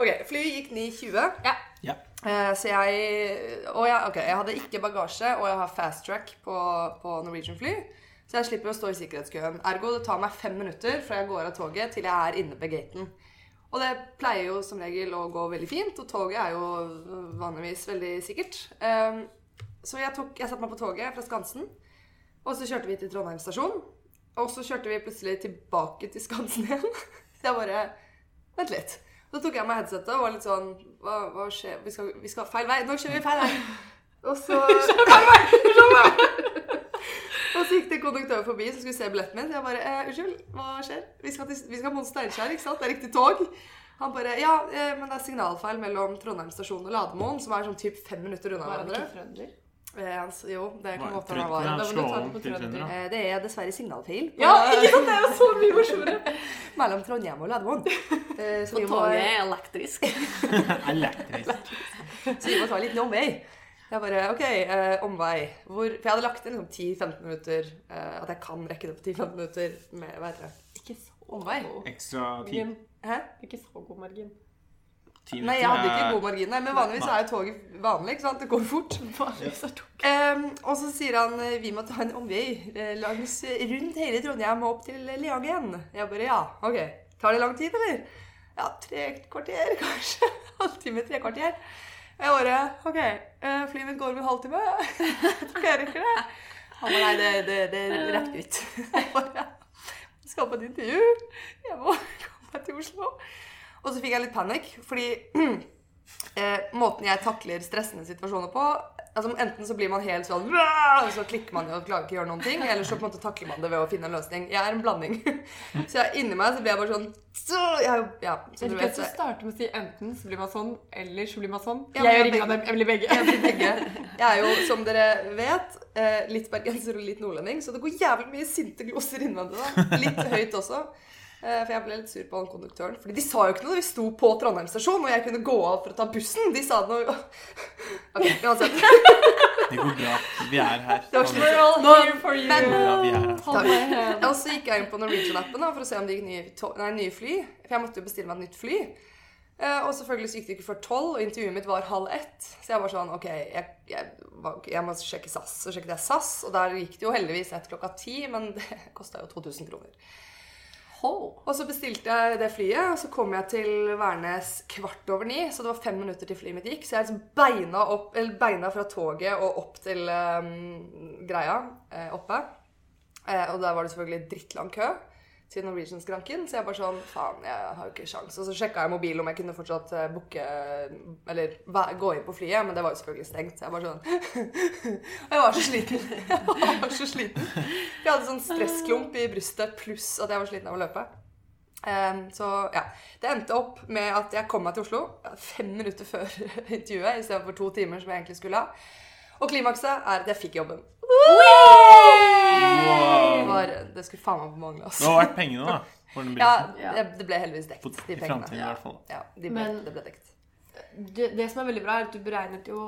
Speaker 4: ok, flyet gikk 9.20.
Speaker 1: Ja.
Speaker 4: Eh, så jeg Og jeg, ok, jeg hadde ikke bagasje, og jeg har fast track på, på Norwegian fly. Så jeg slipper å stå i sikkerhetskøen. Ergo det tar meg fem minutter fra jeg går av toget til jeg er inne på gaten. Og det pleier jo som regel å gå veldig fint, og toget er jo eh, vanligvis veldig sikkert. Eh, så jeg, tok, jeg satte meg på toget fra Skansen, og så kjørte vi til Trondheim stasjon. Og så kjørte vi plutselig tilbake til Skansen igjen. *laughs* Så jeg bare Vent litt. Så tok jeg av meg headsetet og var litt sånn Hva, hva skjer? Vi skal, vi skal feil vei. Nå kjører vi feil vei. Og så *laughs* Og så gikk det en konduktør forbi som skulle se billetten min. Så jeg bare eh, Unnskyld, hva skjer? Vi skal, til, vi skal mot Steinkjer, ikke sant? Det er riktig tog. Han bare Ja, eh, men det er signalfeil mellom Trondheim stasjon og Lademoen, som er sånn typ fem minutter unna
Speaker 3: Var det
Speaker 4: hverandre.
Speaker 3: ikke trønder?
Speaker 4: Eh, han s- jo, det kan
Speaker 1: Hva er
Speaker 4: godt
Speaker 1: trønder?
Speaker 4: hende han var.
Speaker 1: Ja,
Speaker 3: Da må du
Speaker 1: slå
Speaker 3: ta det
Speaker 1: om
Speaker 3: på
Speaker 1: til
Speaker 3: trønder.
Speaker 1: trønder, da.
Speaker 4: Eh, Det er dessverre signalfeil på, eh,
Speaker 3: Ja, *laughs* ikke sant? Det er jo så mye morsommere.
Speaker 4: mellom Trondheim og Lademoen. Eh, Så
Speaker 2: På
Speaker 4: vi må,
Speaker 2: toget er elektrisk.
Speaker 4: *laughs*
Speaker 1: *laughs* Elektrisk.
Speaker 4: så vi må ta en liten omvei. Jeg bare OK, eh, omvei. Hvor For jeg hadde lagt inn liksom 10-15 minutter. Eh, at jeg kan rekke det på 10-15 minutter med hva heter det?
Speaker 3: Ikke så
Speaker 4: Omvei.
Speaker 1: Ekstra ti
Speaker 3: margin.
Speaker 4: Hæ?
Speaker 3: Ikke så god margin.
Speaker 1: ti
Speaker 4: Nei, jeg hadde ikke
Speaker 1: minutter.
Speaker 4: god margin. Nei, men vanligvis er jo toget vanlig, ikke sant? Det går fort.
Speaker 3: Vanligvis er to.
Speaker 4: Ehm, og så sier han eh, vi må ta en omvei eh, langs rundt hele Trondheim og opp til Leangen. Jeg bare ja, ok. Tar det lang tid, eller? Ja, tre kvarter *laughs* kanskje. Halvtime, tre kvarter. Jeg bare ok, eh, flyet mitt går om en halvtime. *laughs* Jeg tror jeg rekker det. Han bare nei, det, det, det rekker vi ikke. *laughs* Jeg bare, jeg skal på et intervju. Jeg må *laughs* komme meg til Oslo. Og så fikk jeg litt panikk, fordi *clears throat* eh, måten jeg takler stressende situasjoner på altså Enten så blir man helt sånn «Wah!» Og så klikker man og klarer ikke å gjøre noen ting. Eller så på en måte takler man det ved å finne en løsning. Jeg er en blanding. *laughs* Så jeg, inni meg så blir jeg bare sånn så, jeg, ja, så
Speaker 3: Jeg
Speaker 4: du
Speaker 3: liker
Speaker 4: vet,
Speaker 3: at du starter med å si enten så blir man sånn, eller så blir man sånn.
Speaker 4: Ja,
Speaker 3: Jeg gjør
Speaker 4: men
Speaker 3: ingen av dem. Jeg blir begge.
Speaker 4: jeg blir begge. Jeg er jo, som dere vet, eh, litt bergenser og litt nordlending, så det går jævlig mye sinte gloser innvendig. da. Litt høyt også. Eh, For jeg ble litt sur på han konduktøren. Fordi de sa jo ikke noe da vi sto på Trondheim stasjon og jeg kunne gå av for å ta bussen. De sa noe *laughs* Ok, uansett.
Speaker 1: Det går bra. Vi er her.
Speaker 4: Det var slutt.
Speaker 3: We're all
Speaker 4: Nå-
Speaker 3: here for you.
Speaker 1: Det går bra, vi er her.
Speaker 3: Hold my hand.
Speaker 4: Og så gikk jeg inn på Norwegian-appen da, for å se om det gikk nye, to nei, nye fly. For jeg måtte jo bestille meg et nytt fly. Eh, og selvfølgelig så gikk det ikke før tolv, og intervjuet mitt var halv ett. Så jeg var sånn OK, jeg, jeg, var- jeg må sjekke SAS. Så sjekket jeg SAS, og der gikk det jo heldigvis etter klokka ti, men *laughs* det kosta jo 2000 kroner. Og så bestilte jeg det flyet, og så kom jeg til Værnes kvart over ni. Så det var fem minutter til flyet mitt gikk. Så jeg liksom beina, opp, eller beina fra toget og opp til eh, greia eh, oppe. Eh, og der var det selvfølgelig drittlang kø til Norwegian-skranken. Så jeg bare sånn Faen, jeg har jo ikke sjans. Og så sjekka jeg mobilen om jeg kunne fortsatt eh, booke Eller væ- gå inn på flyet, men det var jo selvfølgelig stengt. Så jeg bare sånn *laughs* Og jeg var så sliten. *laughs* Jeg var så sliten. Jeg hadde sånn stressklump i brystet pluss at jeg var sliten av å løpe. Ehm, så ja. Det endte opp med at jeg kom meg til Oslo fem minutter før *laughs* intervjuet istedenfor to timer, som jeg egentlig skulle ha. Og klimakset er at jeg fikk jobben. Det,
Speaker 1: Wow.
Speaker 4: var, det skulle faen meg mangle, altså.
Speaker 1: Det var verdt pengene, da. For den
Speaker 4: Ja,
Speaker 1: billetten.
Speaker 2: Ja.
Speaker 4: det, det ble heldigvis
Speaker 1: På-
Speaker 4: dekt,
Speaker 1: I
Speaker 4: de
Speaker 1: framtiden,
Speaker 4: pengene.
Speaker 1: i hvert fall.
Speaker 4: Ja, de ble,
Speaker 3: Men-
Speaker 4: det ble dekt.
Speaker 3: Det, det som er veldig bra, er at du beregnet jo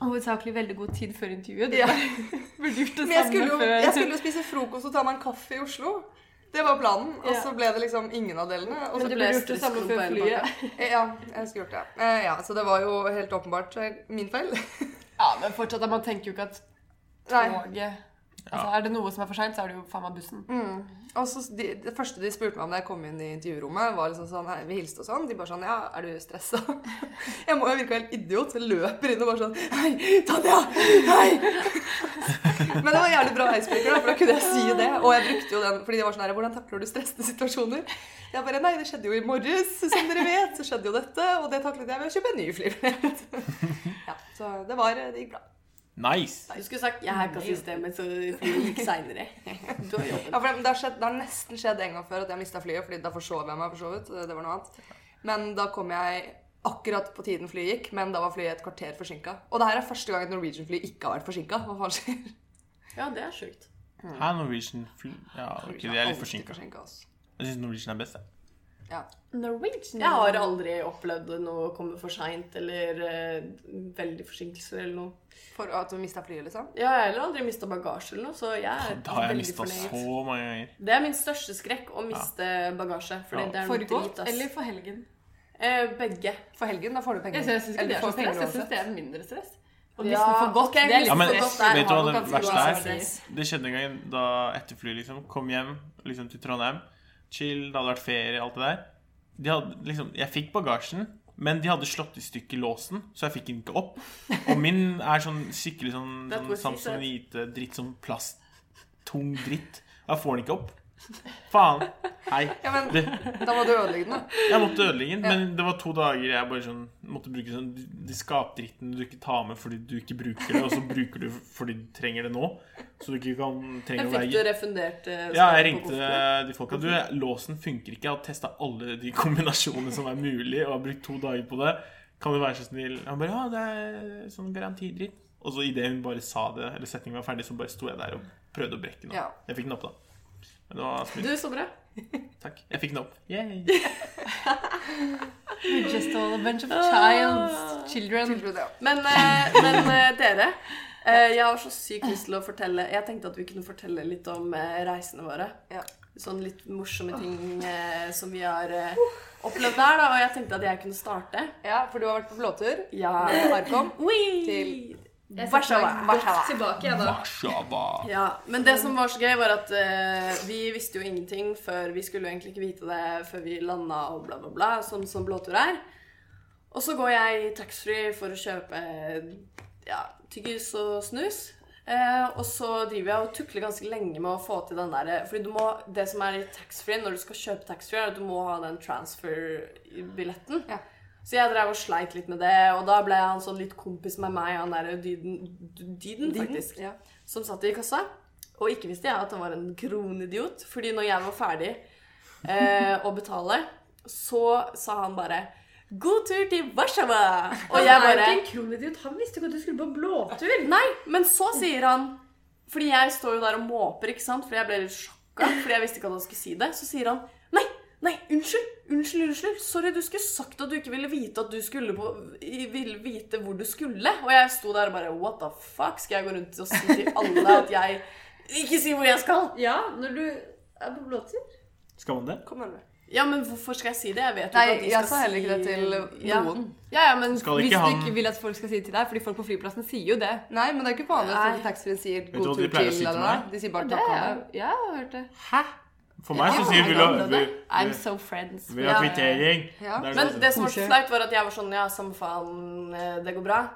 Speaker 3: hovedsakelig veldig god tid før intervjuet. Du
Speaker 4: Ja.
Speaker 3: *laughs* burde gjort det
Speaker 4: Men jeg
Speaker 3: samme
Speaker 4: skulle, jo,
Speaker 3: før.
Speaker 4: jeg skulle jo spise frokost og ta meg en kaffe i Oslo. Det var planen, og
Speaker 3: Ja.
Speaker 4: så ble det liksom ingen av delene. Og
Speaker 3: Men
Speaker 4: så
Speaker 3: du
Speaker 4: ble
Speaker 3: burde gjort det samme før flyet.
Speaker 4: Ja, jeg skulle gjort det. Eh, Ja, Så det var jo helt åpenbart eh, min feil.
Speaker 3: Ja, men fortsatt, man tenker jo ikke at
Speaker 4: Nei. *laughs*
Speaker 3: toget Altså, Er det noe som er for seint, så er det jo faen meg bussen.
Speaker 4: Og så de, Det første de spurte meg om da jeg kom inn i intervjurommet, var liksom sånn Hei, vi hilste og sånn. De bare sånn Ja, er du stressa? *laughs* Jeg må jo virke helt idiot. Så jeg løper inn og bare sånn Hei, Tanja! Hei! *laughs* Men det var jævlig bra icebreaker, da, for da kunne jeg si det. Og jeg brukte jo den, fordi det var sånn her Hvordan takler du stressende situasjoner? Jeg bare Nei, det skjedde jo i morges, som dere vet. Så skjedde jo dette. Og det taklet jeg ved å kjøpe en ny flybillett. *laughs* Ja, så det var Det gikk bra.
Speaker 1: Nice.
Speaker 2: Du skulle sagt 'jeg hacka systemet, så flyet gikk
Speaker 4: *laughs*
Speaker 2: seinere'. Du har jobben.
Speaker 4: Ja, for det, det, har skjedd, det har nesten skjedd en gang før at jeg mista flyet, fordi da forsov jeg meg for så vidt. Det var noe annet. Men da kom jeg akkurat på tiden flyet gikk, men da var flyet et kvarter forsinka. Og det her er første gang et Norwegian-fly ikke har vært forsinka. Hva faen skjer?
Speaker 2: Ja, det er sjukt.
Speaker 4: Mm.
Speaker 1: Her er Norwegian fly... Ja, ok, de er litt
Speaker 4: Alltid
Speaker 1: forsinka.
Speaker 4: forsinket, altså.
Speaker 1: Jeg syns Norwegian er best, jeg.
Speaker 4: Ja.
Speaker 3: Norwegian?
Speaker 2: Jeg har aldri opplevd noe å komme for seint eller eh, veldig forsinkelser eller noe.
Speaker 4: For at du mista flyet, liksom?
Speaker 2: Jeg har heller aldri mista bagasje eller noe, så
Speaker 1: *laughs*
Speaker 2: jeg er
Speaker 1: Det har jeg
Speaker 2: veldig
Speaker 1: mista
Speaker 2: fornøyd.
Speaker 1: så mange ganger.
Speaker 2: Det er min største skrekk, å miste bagasje. Fordi
Speaker 1: Ja.
Speaker 2: det er noe drit,
Speaker 3: Foregått
Speaker 2: ass.
Speaker 3: eller for helgen?
Speaker 2: Eh, begge.
Speaker 4: For helgen, da får du penger.
Speaker 3: Jeg syns ikke
Speaker 4: Eller
Speaker 3: det er
Speaker 4: du
Speaker 3: så
Speaker 4: får penger
Speaker 3: stress. Jeg synes
Speaker 4: uansett.
Speaker 3: det er mindre stress. Og
Speaker 2: Ja,
Speaker 3: liksom for godt,
Speaker 2: ok,
Speaker 3: det
Speaker 2: liksom
Speaker 3: er litt
Speaker 1: Ja, men
Speaker 2: for godt der
Speaker 1: vet du
Speaker 2: har
Speaker 1: hva det
Speaker 2: ganske
Speaker 1: verste
Speaker 2: god
Speaker 1: er?
Speaker 2: stress.
Speaker 1: Det skjedde en gang da etter fly, liksom. Kom hjem liksom, til Trondheim. Chill, det hadde vært ferie, alt det der. De hadde, liksom, jeg fikk bagasjen, men de hadde slått i stykker låsen, så jeg fikk den ikke opp. Og min er sånn skikkelig sånn,
Speaker 4: *laughs*
Speaker 2: That
Speaker 1: sånn
Speaker 2: was he said.
Speaker 1: Samsonite-dritt, sånn plast. Tung dritt. Da får den ikke opp. Faen. Hei.
Speaker 4: Ja, men
Speaker 1: Det,
Speaker 4: da må du ødelegge den, da.
Speaker 1: jeg måtte ødelegge den, men det var to dager jeg bare sånn måtte bruke sånn De skapdritten du ikke tar med fordi du ikke bruker det, og så bruker du fordi du trenger det nå. Så du ikke kan trenger
Speaker 2: Men
Speaker 1: å
Speaker 2: fikk du
Speaker 1: være
Speaker 2: refundert eh,
Speaker 1: ja,
Speaker 2: skatten
Speaker 1: jeg
Speaker 2: på
Speaker 1: ringte
Speaker 2: kofferten?
Speaker 1: de folka. Du, låsen funker ikke. Jeg har testa alle de *laughs* kombinasjonene som er mulig, og har brukt to dager på det. Kan du være så snill? Han bare Ja, det er sånn garantidritt. Og så idet hun bare sa det, eller setningen var ferdig, så bare sto jeg der og prøvde å brekke den.
Speaker 4: Ja.
Speaker 1: opp. Jeg fikk den opp, da. Men det var smooth.
Speaker 2: Du, så bra.
Speaker 1: Takk. Jeg fikk den opp. Yay.
Speaker 3: We're just all a bunch of child, children.
Speaker 4: Tilbudet, ja.
Speaker 2: Men,
Speaker 1: *laughs*
Speaker 2: eh, men eh, dere, eh, jeg har så sykt lyst til å fortelle Jeg tenkte at vi kunne fortelle litt om eh, reisene våre.
Speaker 4: Ja.
Speaker 2: Sånn litt morsomme ting eh, som vi har eh, opplevd der, da. Og jeg tenkte at jeg kunne starte.
Speaker 4: ja, for du har vært på blåtur
Speaker 2: Ja.
Speaker 4: med Arkom.
Speaker 2: Til Warszawa.
Speaker 5: Tilbake, jeg, da.
Speaker 1: Warszawa.
Speaker 2: Ja, men det som var så gøy, var at eh, vi visste jo ingenting før Vi skulle jo egentlig ikke vite det før vi landa og bla, bla, bla, sånn som blåtur er. Og så går jeg i taxfree for å kjøpe ja, tyggis og snus. Eh, og så driver jeg og tukler ganske lenge med å få til den der eh, Fordi du må, det som er i taxfree når du skal kjøpe taxfree, er at du må ha den transfer-billetten.
Speaker 4: Ja.
Speaker 2: Så jeg drev og sleit litt med det, og da ble han sånn litt kompis med meg, han der Dyden, dyden faktisk
Speaker 4: Ja.
Speaker 2: som satt i kassa. Og ikke visste jeg at han var en kronidiot, fordi når jeg var ferdig eh, å betale, så sa han bare 'God tur til Warszawa!' Og jeg
Speaker 5: Han er
Speaker 2: bare
Speaker 5: jo ikke en kronidiot. Han visste ikke at du skulle på blåtur.
Speaker 2: Nei, men så sier han Fordi jeg står jo der og måper, ikke sant? Fordi jeg ble litt sjokka, fordi jeg visste ikke at han skulle si det. Så sier han Nei, nei, unnskyld, unnskyld, unnskyld. Sorry, du skulle sagt at du ikke ville vite at du skulle på i- Ville vite hvor du skulle. Og jeg sto der og bare What the fuck? Skal jeg gå rundt og si til alle at jeg ikke si hvor jeg skal?
Speaker 5: Ja, når du er på blåtur.
Speaker 1: Skal man det?
Speaker 4: Kom nærmere.
Speaker 2: Ja, men hvorfor skal jeg si det? Jeg vet jo
Speaker 4: Nei,
Speaker 2: ikke at de
Speaker 4: jeg
Speaker 2: skal
Speaker 4: sa heller ikke det til
Speaker 2: si- Ja.
Speaker 4: noen.
Speaker 3: Ja, ja, men hvis
Speaker 1: Skal
Speaker 3: du
Speaker 1: ikke han-
Speaker 3: ikke vil at folk skal si det til deg, fordi folk på flyplassen sier jo det.
Speaker 4: Nei, men det er ikke vanlig
Speaker 2: Nei.
Speaker 4: at taxfree sier
Speaker 1: du hva
Speaker 4: 'god
Speaker 1: de
Speaker 4: tur
Speaker 1: pleier å
Speaker 4: til'
Speaker 1: si til
Speaker 4: eller
Speaker 1: meg?
Speaker 4: noe. De sier bare
Speaker 3: Det
Speaker 4: 'takk og
Speaker 3: er, ja, jeg har hørt det.
Speaker 1: Hæ? For meg så sier vi
Speaker 3: Ja,
Speaker 1: la- vi,
Speaker 3: I'm
Speaker 1: vi,
Speaker 3: so friends.
Speaker 1: vi har
Speaker 2: Ja.
Speaker 1: kvittering.
Speaker 4: Ja.
Speaker 1: Det er
Speaker 2: Men
Speaker 1: sånn-
Speaker 2: det som var så
Speaker 3: Koselig.
Speaker 2: flaut, var at jeg var sånn Ja, samme faen, eh, det går bra.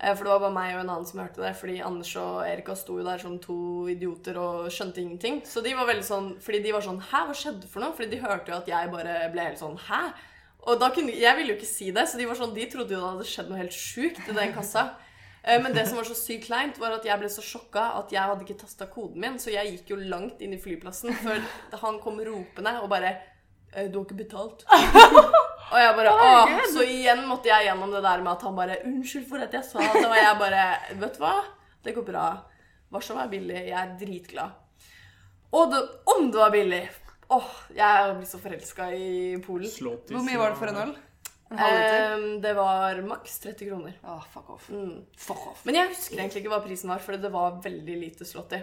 Speaker 2: Eh, For det var bare meg og en annen som hørte det. Fordi Anders og Erika sto jo der som to idioter og skjønte ingenting. Så de var veldig sånn Fordi de var sånn Hæ, hva skjedde for noe? Fordi de hørte jo at jeg bare ble helt sånn Hæ? Og da kunne Jeg ville jo ikke si det, så de var sånn De trodde jo det hadde skjedd noe helt sjukt i den kassa. Eh, Men det som var så sykt kleint, var at jeg ble så sjokka at jeg hadde ikke tasta koden min, så jeg gikk jo langt inn i flyplassen før han kom ropende og bare «Eh, Du har ikke betalt. Og jeg bare, ah, Så igjen måtte jeg gjennom det der med at han bare 'Unnskyld for at jeg sa det.' Og jeg bare 'Vet du hva? Det går bra. Warszawa er billig. Jeg er dritglad.' Og det, om det var billig Åh, jeg blir så forelska i Polen.
Speaker 1: Slåttis,
Speaker 4: Hvor mye var det for en øl? En halv liter?
Speaker 2: Eh, det var maks 30 kroner.
Speaker 4: Åh, fuck off.
Speaker 2: Mm.
Speaker 4: Fuck
Speaker 3: *laughs*
Speaker 4: off.
Speaker 2: Men jeg husker egentlig ikke hva prisen var, for det var veldig lite slått i.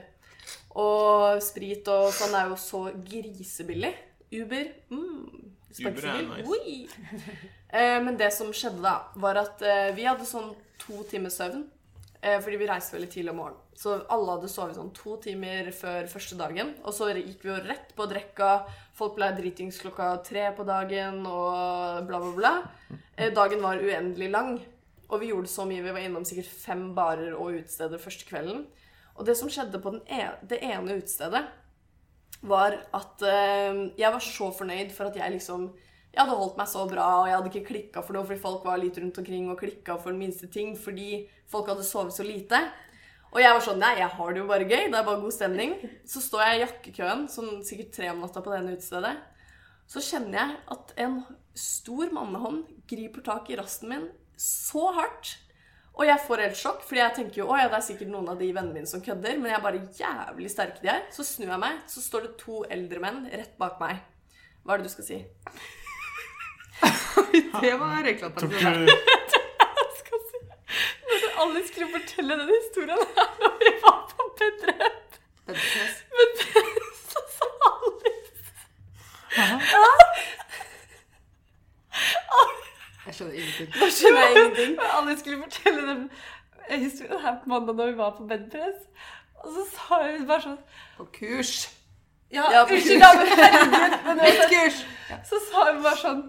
Speaker 2: Og sprit og sånn er jo så grisebillig. Uber mm,
Speaker 1: Uber er
Speaker 2: sparkesykkel.
Speaker 1: nice.
Speaker 2: Oi! Eh, men det som skjedde da, var at eh, vi hadde sånn to timers søvn. Eh, fordi vi reiste veldig tidlig om morgenen. Så alle hadde sovet sånn to timer før første dagen. Og så gikk vi jo rett på drekka. Folk ble dritings klokka tre på dagen og bla, bla, bla. Eh, dagen var uendelig lang. Og vi gjorde så mye. Vi var innom sikkert fem barer og utesteder første kvelden. Og det som skjedde på den e det ene utestedet, var at eh, jeg var så fornøyd for at jeg liksom Jeg hadde holdt meg så bra, og jeg hadde ikke klikka for noe, fordi folk var litt rundt omkring og klikka for den minste ting fordi folk hadde sovet så lite. Og jeg var sånn Nei, jeg har det jo bare gøy. Det er bare god stemning. Så står jeg i jakkekøen, sånn sikkert tre om natta på det ene utestedet. Så kjenner jeg at en stor mannehånd griper tak i rasten min så hardt. Og jeg får helt sjokk, fordi jeg tenker jo å ja, det er sikkert noen av de vennene mine som kødder, men jeg er bare jævlig sterke de er. Så snur jeg meg, så står det to eldre menn rett bak meg. Hva er det du skal si?
Speaker 4: Det var
Speaker 1: Tok
Speaker 4: reklamen.
Speaker 1: du
Speaker 3: Alle skulle fortelle den historien her *laughs* når vi var på P3. Men *laughs* så sa Alice
Speaker 4: Jeg skjønner ingenting.
Speaker 2: Da skjønner jeg
Speaker 3: *laughs*
Speaker 2: ingenting.
Speaker 3: Men Alice skulle fortelle den historien her på mandag når vi var på bedpress. Og så sa hun bare sånn
Speaker 4: På kurs.
Speaker 3: Ja,
Speaker 2: Ja, på
Speaker 3: unnskyld, da, men herregud. Men altså,
Speaker 4: Et
Speaker 3: uansett,
Speaker 4: kurs!
Speaker 3: så sa hun bare sånn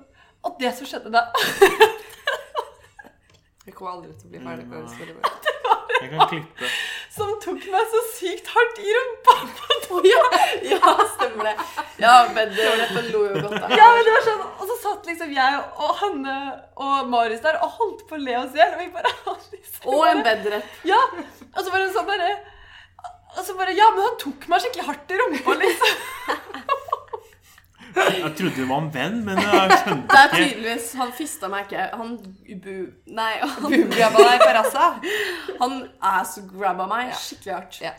Speaker 3: Og det som skjedde da
Speaker 4: Jeg kommer aldri til å bli ferdig med den historien.
Speaker 1: Jeg kan klippe.
Speaker 3: som tok meg så sykt hardt i rumpa.
Speaker 2: Ja, stemmer det. Ja, Bedreppen lo jo godt da.
Speaker 3: Ja, men det var sånn, Og så satt liksom jeg og Hanne og Marius der og holdt på å le oss i hjel. Og vi bare Alice.
Speaker 2: Og en bedrep.
Speaker 3: Ja, og så bare sånn bare Og så bare Ja, men han tok meg skikkelig hardt i rumpa, liksom.
Speaker 1: Jeg trodde det var en venn, men jeg
Speaker 2: Det er
Speaker 1: skjønte ikke.
Speaker 2: tydeligvis Han fista meg ikke. Han bu... Nei, han
Speaker 4: Grabba deg på rassa.
Speaker 2: Han ass-grabba meg skikkelig hardt.
Speaker 4: Ja.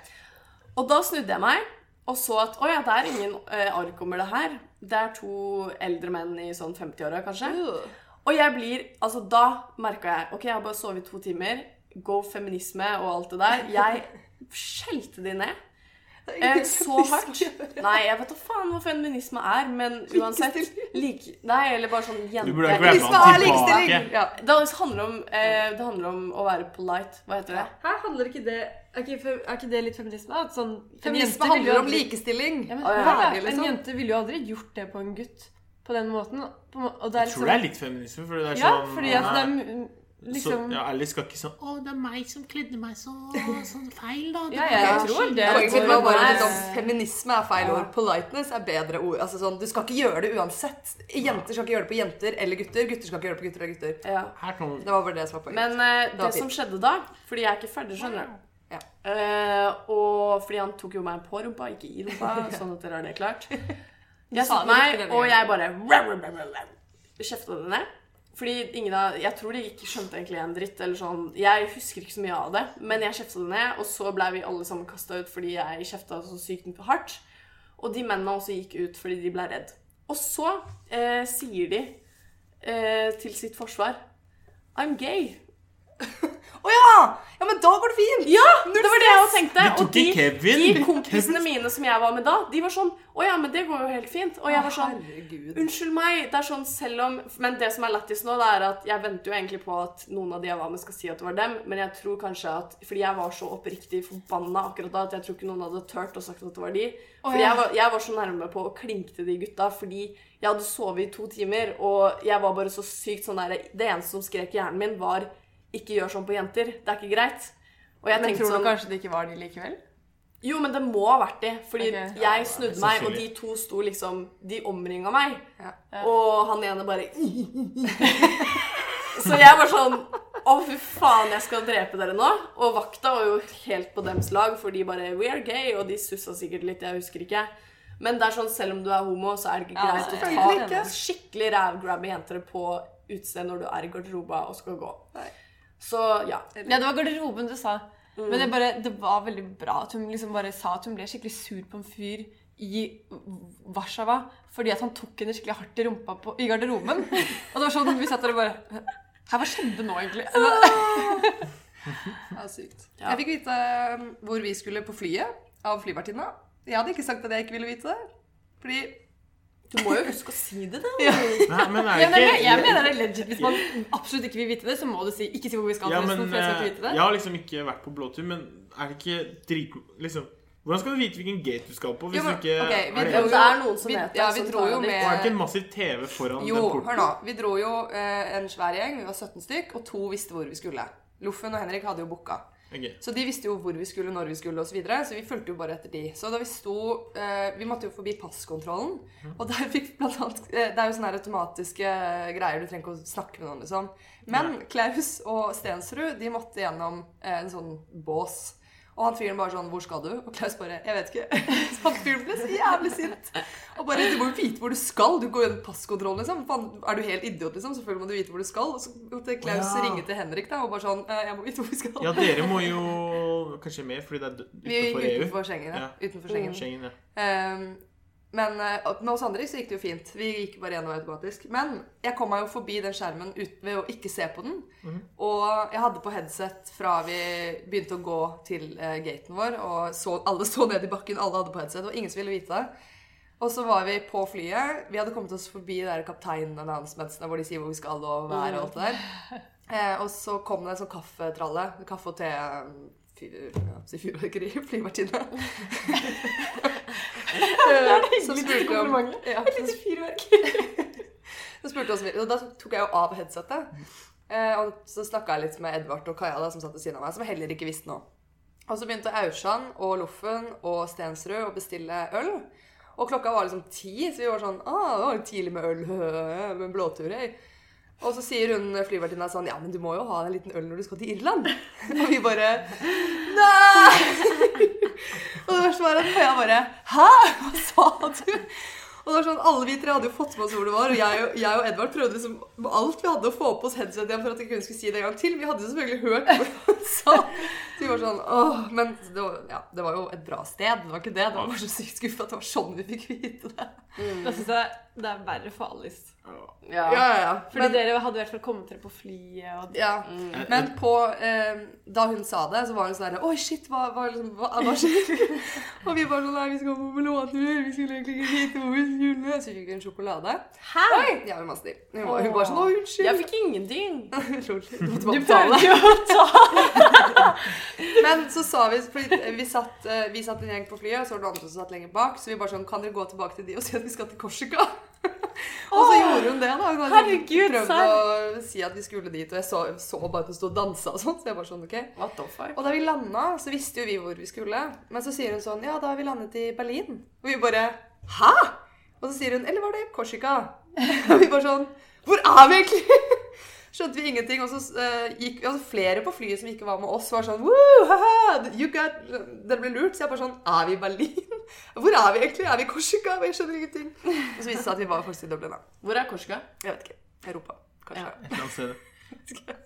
Speaker 2: Og da snudde jeg meg og så at å ja, det er ingen eh, ark over det her. Det er to eldre menn i sånn 50-åra, kanskje.
Speaker 4: Uh.
Speaker 2: Og jeg blir Altså, da merka jeg OK, jeg har bare sovet to timer. Go feminisme og alt det der. Jeg skjelte de ned. Eh, så hardt. Nei, jeg vet da faen hva feminisme er, men uansett like, Nei, eller bare sånn
Speaker 1: Du
Speaker 2: jente...
Speaker 1: burde ha
Speaker 4: Hvis
Speaker 1: grabba han
Speaker 4: man er
Speaker 1: tilbake.
Speaker 4: likestilling! Ja.
Speaker 2: Det handler, om, eh, det handler om å være polite. Hva heter det?
Speaker 5: Her handler ikke det Er ikke, fe- er ikke det litt feminisme? At sånn, en
Speaker 4: Feminisme
Speaker 5: jente vil jo
Speaker 4: handler om
Speaker 5: aldri-
Speaker 4: likestilling.
Speaker 3: Ja, men,
Speaker 2: Å, ja.
Speaker 3: hva da?
Speaker 4: Ferdig, liksom.
Speaker 3: En jente ville jo aldri gjort det på en gutt på den måten. På, en må- og det er
Speaker 1: Jeg tror det
Speaker 3: liksom,
Speaker 1: er litt feminisme, fordi det er
Speaker 3: ja,
Speaker 1: sånn
Speaker 3: fordi at det er mm, liksom
Speaker 1: så,
Speaker 3: ja,
Speaker 1: ja, Alice skal ikke sånn 'Å, det er meg som kledde meg så sånn feil', da. Det
Speaker 3: ja,
Speaker 1: var
Speaker 3: jeg tror det.
Speaker 4: Poenget mitt var
Speaker 3: går-
Speaker 4: bare
Speaker 2: Nei.
Speaker 4: at liksom, feminisme er feil ord. Politeness er bedre ord. Altså, sånn, du skal ikke gjøre det uansett. Jenter skal ikke gjøre det på jenter eller gutter. Gutter skal ikke gjøre det på gutter og gutter.
Speaker 2: Ja.
Speaker 1: Her kommer
Speaker 4: Det var bare det som var poenget.
Speaker 2: Men eh,
Speaker 4: var
Speaker 2: det som skjedde da Fordi jeg er ikke ferdig, skjønner du.
Speaker 4: Ja.
Speaker 2: Eh, og fordi han tok jo meg på rumpa, ikke i
Speaker 4: *laughs*
Speaker 2: rumpa, sånn at dere har det klart. Jeg
Speaker 4: sa
Speaker 2: satte
Speaker 4: det riktig
Speaker 2: meg,
Speaker 4: denne
Speaker 2: og
Speaker 4: gangen.
Speaker 2: jeg bare rar, rar, rar, rar, kjefta det ned. Fordi ingen av, Jeg tror de ikke skjønte egentlig en dritt. eller sånn. Jeg husker ikke så mye av det, men jeg kjefta det ned. Og så blei vi alle sammen kasta ut fordi jeg kjefta så sykt hardt. Og de mennene også gikk ut fordi de blei redd. Og så eh, sier de eh, til sitt forsvar I'm gay.
Speaker 4: Å ja! ja! Men da går det fint!
Speaker 2: Ja, det var det jeg også tenkte.
Speaker 1: Vi tok
Speaker 2: Og de,
Speaker 1: ikke Kevin.
Speaker 2: de kompisene mine som jeg var med da, de var sånn Å ja, men det går jo helt fint. Og jeg var sånn
Speaker 4: Herregud.
Speaker 2: Unnskyld meg. Det er sånn selv om Men det som er lættis nå, det er at jeg venter jo egentlig på at noen av de jeg var med, skal si at det var dem, men jeg tror kanskje at Fordi jeg var så oppriktig forbanna akkurat da at jeg tror ikke noen hadde turt å sagt at det var de. Fordi jeg var, jeg var så nærme på å klinke til de gutta fordi jeg hadde sovet i to timer, og jeg var bare så sykt sånn der Det eneste som skrek i hjernen min, var ikke gjør sånn på jenter. Det er ikke greit. Og jeg
Speaker 3: Men
Speaker 2: tenkte
Speaker 3: tror du
Speaker 2: sånn
Speaker 3: kanskje det ikke var de likevel?
Speaker 2: jo, men det må ha vært de. Fordi
Speaker 3: Ok.
Speaker 2: jeg snudde meg, og de
Speaker 1: sannsynlig.
Speaker 2: to sto liksom De omringa meg.
Speaker 4: Ja.
Speaker 2: Og han ene bare *laughs* Så jeg var sånn Å, fy faen, jeg skal drepe dere nå. Og vakta var jo helt på dems lag, for de bare We are gay. Og de sussa sikkert litt, jeg husker ikke. Men det er sånn, selv om du er homo, så er det ikke
Speaker 3: Ja,
Speaker 2: greit
Speaker 4: selvfølgelig
Speaker 2: å ta
Speaker 4: ikke.
Speaker 2: skikkelig rævgrabbe jenter på utestedet når du er i garderoba og skal gå.
Speaker 4: Nei.
Speaker 2: Så ja.
Speaker 3: Ja, det var garderoben du sa. Men det, bare, det var veldig bra at hun liksom bare sa at hun ble skikkelig sur på en fyr i Warszawa fordi at han tok henne skikkelig hardt i rumpa på, i garderoben. Og det var sånn vi satt der og bare Her, hva skjedde nå, egentlig?
Speaker 4: Ja, sykt.
Speaker 2: Ja.
Speaker 4: Jeg fikk vite um, hvor vi skulle på flyet av flyvertinna. Jeg hadde ikke sagt at jeg ikke ville vite det. Fordi
Speaker 2: Du må jo huske å si det, da.
Speaker 1: Nei, men er
Speaker 3: Ja, men
Speaker 1: det
Speaker 3: jeg, jeg
Speaker 1: ikke
Speaker 3: mener det er legit. Hvis man absolutt ikke vil vite det, så må du si Ikke si hvor vi skal,
Speaker 1: ja,
Speaker 3: forresten,
Speaker 1: men,
Speaker 3: for jeg skal
Speaker 1: eh,
Speaker 3: ikke vite det.
Speaker 1: Jeg har liksom ikke vært på blåtur, men er det ikke drit... Liksom, hvordan skal du vite hvilken gate du skal på hvis
Speaker 4: Jo, men,
Speaker 1: du ikke
Speaker 4: ok, vi
Speaker 1: er det,
Speaker 4: dro
Speaker 2: Men
Speaker 4: jo-
Speaker 2: det er noen som
Speaker 4: vi-
Speaker 2: vet det,
Speaker 4: ja, vi
Speaker 2: som
Speaker 4: dro
Speaker 2: tar
Speaker 4: jo
Speaker 2: det dit.
Speaker 1: Og er det ikke en
Speaker 4: med
Speaker 1: massiv TV foran
Speaker 4: Jo,
Speaker 1: den
Speaker 4: hør
Speaker 1: porten?
Speaker 4: nå. Vi dro jo eh, en svær gjeng. Vi var 17 stykk, og to visste hvor vi skulle. Loffen og Henrik hadde jo booka.
Speaker 1: Ok.
Speaker 4: Så de visste jo hvor vi skulle, når vi skulle osv. Så, videre, så vi fulgte jo bare etter de. Så da vi sto eh, Vi måtte jo forbi passkontrollen.
Speaker 1: Mhm.
Speaker 4: Og der fikk blant annet eh, Det er jo sånne her automatiske greier, du trenger ikke å snakke med noen, liksom. Men Klaus og Stensrud, de måtte gjennom eh, en sånn bås. Og han fyren bare sånn 'Hvor skal du?' Og Klaus bare 'Jeg vet ikke'. *laughs* Så han fyren ble så jævlig sint. Og bare 'Du må jo vite hvor du skal. Du går gjennom passkontrollen, liksom. Faen, er du helt idiot, liksom? Selvfølgelig må du vite hvor du skal. Og så måtte Klaus
Speaker 1: Ja.
Speaker 4: ringe til Henrik da, og bare sånn «Eh, 'Jeg må vite hvor vi skal'.
Speaker 1: Ja, dere må jo kanskje mer, fordi det er d-
Speaker 4: Vi gikk
Speaker 1: utenfor EU.
Speaker 4: utenfor Schengen. Ja.
Speaker 1: Ja.
Speaker 4: Utenfor Schengen.
Speaker 1: Schengen, ja.
Speaker 4: Ehm, men eh, med oss andre så gikk det jo fint. Vi gikk bare gjennom automatisk. Men jeg kom meg jo forbi den skjermen ut, ved å ikke se på den. Og jeg hadde på headset fra vi begynte å gå til eh, gaten vår, og så, alle så ned i bakken, alle hadde på headset, og ingen som ville vite det. Og så var vi på flyet. Vi hadde kommet oss forbi de der kaptein-announcementsene hvor de sier hvor vi skal og være og alt det der. Eh, og så kom det en sånn kaffetralle. Kaffe og te eh, fyr- ja, si Fyrverkeri. *laughs* Flyvertinne. Som spurte om ja, som- *laughs* som spurte oss, Og da tok jeg jo av headsetet. Eh, og så snakka jeg litt med Edvard og Kaja, da, som satt ved siden av meg, som heller ikke visste noe. Og så begynte Aursand og Loffen og Stensrud å bestille øl. Og klokka var liksom ti, så vi var sånn ah, det var jo tidlig med øl, *laughs* med en blåtur, jeg. Og så sier hun flyvertinna sånn Ja, men du må jo ha en liten øl når du skal til Irland. *laughs* Og vi bare Nei! og det verste var at Kaja bare Hæ? Hva sa du? Og det var sånn, Alle vi tre hadde jo fått med oss hvor det var, og jeg, og- jeg og Edvard prøvde liksom med alt vi hadde å få på oss headset igjen for at vi kunne skulle si det en gang til. Vi hadde jo selvfølgelig hørt hva han sa. *laughs* Så vi var sånn, åh, Men det var, ja, det var jo et bra sted, det var ikke det. Det var bare så sykt skuffa at det var sånn vi fikk vite det.
Speaker 5: Da syns jeg det er verre for Alice.
Speaker 2: Ja.
Speaker 4: Ja, ja, ja.
Speaker 5: Fordi dere hadde i hvert fall kommet dere på flyet og
Speaker 4: Ja. Men på, eh, da hun sa det, så var hun sånn der, Oi, shit, hva, hva, liksom, hva, hva skjer? *laughs* og vi bare sånn Nei, vi skal på blåtur. Vi skulle egentlig ikke vite hvor vi skulle. Så fikk vi en sjokolade. Hæ? Oi, ja, hun var snill. Hun, var- hun bare sånn Å, unnskyld. *laughs*
Speaker 2: Jeg fikk ingenting.
Speaker 4: Lol, du måtte bare
Speaker 5: Du
Speaker 4: betale.
Speaker 5: prøvde jo å ta
Speaker 4: Men så sa vi fordi vi satt, eh, vi satt en gjeng på flyet, og så var det andre som satt lenger bak. Så vi bare sånn Kan dere gå tilbake til de og si at vi skal til Korsika? *laughs* og så gjorde hun det, da. Hun hadde liksom
Speaker 5: herregud,
Speaker 4: prøvd
Speaker 5: serr.
Speaker 4: å si at vi skulle dit, og jeg så, så bare at hun sto og dansa og sånn. Så jeg bare sånn OK.
Speaker 2: What the fuck?
Speaker 4: Og da vi landa, så visste jo vi hvor vi skulle. Men så sier hun sånn Ja, da har vi landet i Berlin. Og vi bare Hæ?! Og så sier hun Eller var det Korsika? *laughs* Og vi bare sånn Hvor er vi egentlig? *laughs* Skjønte vi ingenting. Og så eh, gikk altså, flere på flyet som ikke var med oss, var sånn Woo, haha, you got, Dere ble lurt. Så jeg bare sånn Er vi i Berlin? *laughs* Hvor er vi egentlig? Er vi i Korsika? Jeg skjønner ingenting. Og så viste det seg at vi var faktisk i Dublin, da.
Speaker 2: Hvor er Korsika?
Speaker 4: Jeg vet ikke. Europa, kanskje.
Speaker 1: Et eller annet sted.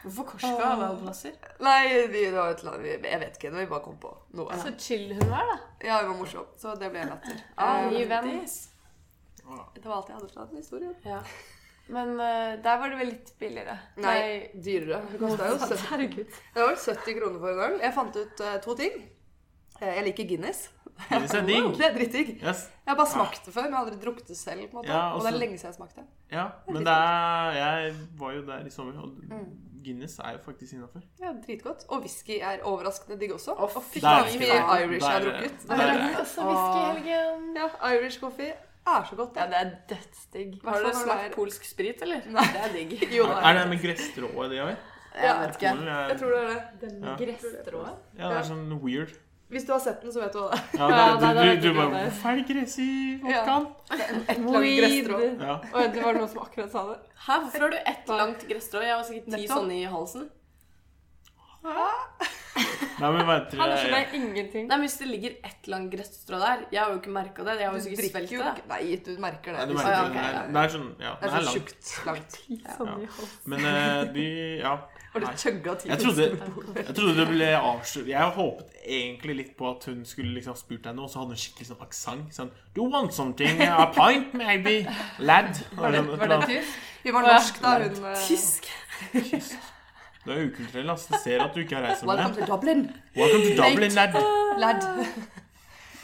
Speaker 2: Hvorfor Korsika av alle plasser?
Speaker 4: Nei, vi, det var et eller annet Jeg vet ikke. Vi bare kom på noe.
Speaker 5: Så chill hun var, da.
Speaker 4: Ja, hun var morsom. Så det ble en latter.
Speaker 5: Ah, ny
Speaker 4: Eh,
Speaker 5: venn.
Speaker 4: Det var alt jeg hadde fra den historien.
Speaker 3: Men eh, der var det vel litt billigere.
Speaker 4: Nei, dyrere. Det kostet jo 70,
Speaker 5: Herregud.
Speaker 4: det var vel 70 kroner for en øl. Jeg fant ut eh, to ting. Eh, jeg liker Guinness.
Speaker 1: Guinness er digg.
Speaker 4: Det er drittdigg.
Speaker 1: Yes.
Speaker 4: Jeg har bare smakt det før, men jeg har aldri drukket det selv. på en måte.
Speaker 1: Ja,
Speaker 4: og det
Speaker 1: også-
Speaker 4: er lenge siden jeg smakte.
Speaker 1: Ja, men det er Jeg var jo der i sommer, og
Speaker 4: Mm.
Speaker 1: Guinness er jo faktisk innafor.
Speaker 4: Ja, Dritgodt. Og whisky er overraskende digg også.
Speaker 2: Å,
Speaker 4: og fy
Speaker 1: der
Speaker 4: faen,
Speaker 1: er
Speaker 4: så
Speaker 1: det
Speaker 4: mye
Speaker 1: ikke.
Speaker 4: Irish jeg har
Speaker 1: Der-
Speaker 4: drukket.
Speaker 1: der er det.
Speaker 3: Også whisky i helgen.
Speaker 4: Ja, Irish coffee er så godt.
Speaker 3: Ja,
Speaker 4: det.
Speaker 3: det er dødsdigg.
Speaker 2: Har dere
Speaker 4: Hvertfall når det
Speaker 2: smakt
Speaker 4: er-
Speaker 2: polsk sprit, eller?
Speaker 4: Nei.
Speaker 2: Det er digg.
Speaker 4: Jo, da.
Speaker 1: Er det med gresstrå i det òg?
Speaker 4: Ja,
Speaker 2: Jeg vet ikke.
Speaker 4: jeg tror det er det.
Speaker 5: Den
Speaker 1: Ja.
Speaker 5: gresstrået.
Speaker 1: Ja, det er sånn
Speaker 4: *laughs*
Speaker 1: weird.
Speaker 4: Hvis du har sett den, så vet du hva det er.
Speaker 1: Ja,
Speaker 5: Ja,
Speaker 1: det,
Speaker 5: nei,
Speaker 1: er-
Speaker 5: det
Speaker 1: du, du, du bare
Speaker 5: er veldig bra.
Speaker 1: Hvorfor er det gress i vodkaen?
Speaker 4: Et eller annet gresstrå.
Speaker 1: Ja.
Speaker 5: Oi, det var noen som akkurat sa det.
Speaker 2: Hæ, hvorfor har du ett langt gresstrå? Jeg har sikkert ti
Speaker 4: Nettopp.
Speaker 2: sånne i halsen.
Speaker 1: Nei, men vent,
Speaker 5: Han
Speaker 1: jeg-
Speaker 5: skjønner ingenting.
Speaker 2: Nei, men Hvis det ligger ett langt gresstrå der Jeg har jo ikke merka det. Jeg har jo
Speaker 4: Du
Speaker 2: sikkert
Speaker 4: drikker
Speaker 2: svelget
Speaker 4: jo
Speaker 2: det.
Speaker 4: ikke Nei, du merker det.
Speaker 1: Nei, du
Speaker 4: Hvis-
Speaker 1: merker
Speaker 2: ja,
Speaker 1: det.
Speaker 2: ok,
Speaker 1: Det
Speaker 2: ja,
Speaker 1: er-
Speaker 2: ja.
Speaker 1: Det er sånn Ja,
Speaker 4: Det
Speaker 1: den er
Speaker 4: er så
Speaker 1: lang.
Speaker 4: tjukt langt.
Speaker 5: Sånn i halsen.
Speaker 1: Men
Speaker 4: *laughs*
Speaker 1: eh, de Ja.
Speaker 4: Har du
Speaker 1: Nei.
Speaker 4: chugga ti
Speaker 1: Jeg trodde, jeg trodde det ble avslørt Jeg håpet egentlig litt på at hun skulle liksom spurt deg noe, så hadde hun skikkelig sånn aksent. Sånn Do you want something? A pint, maybe? Lad?
Speaker 3: Var det,
Speaker 1: Eller noe
Speaker 3: var det
Speaker 1: sånt.
Speaker 3: tysk?
Speaker 4: Vi var norsk da, hun eh,
Speaker 1: Du er ukulturell, ass. Det ser at du ikke har reist med
Speaker 4: Welcome
Speaker 1: deg.
Speaker 4: to Dublin,
Speaker 1: Welcome to Dublin, lad.
Speaker 4: lad.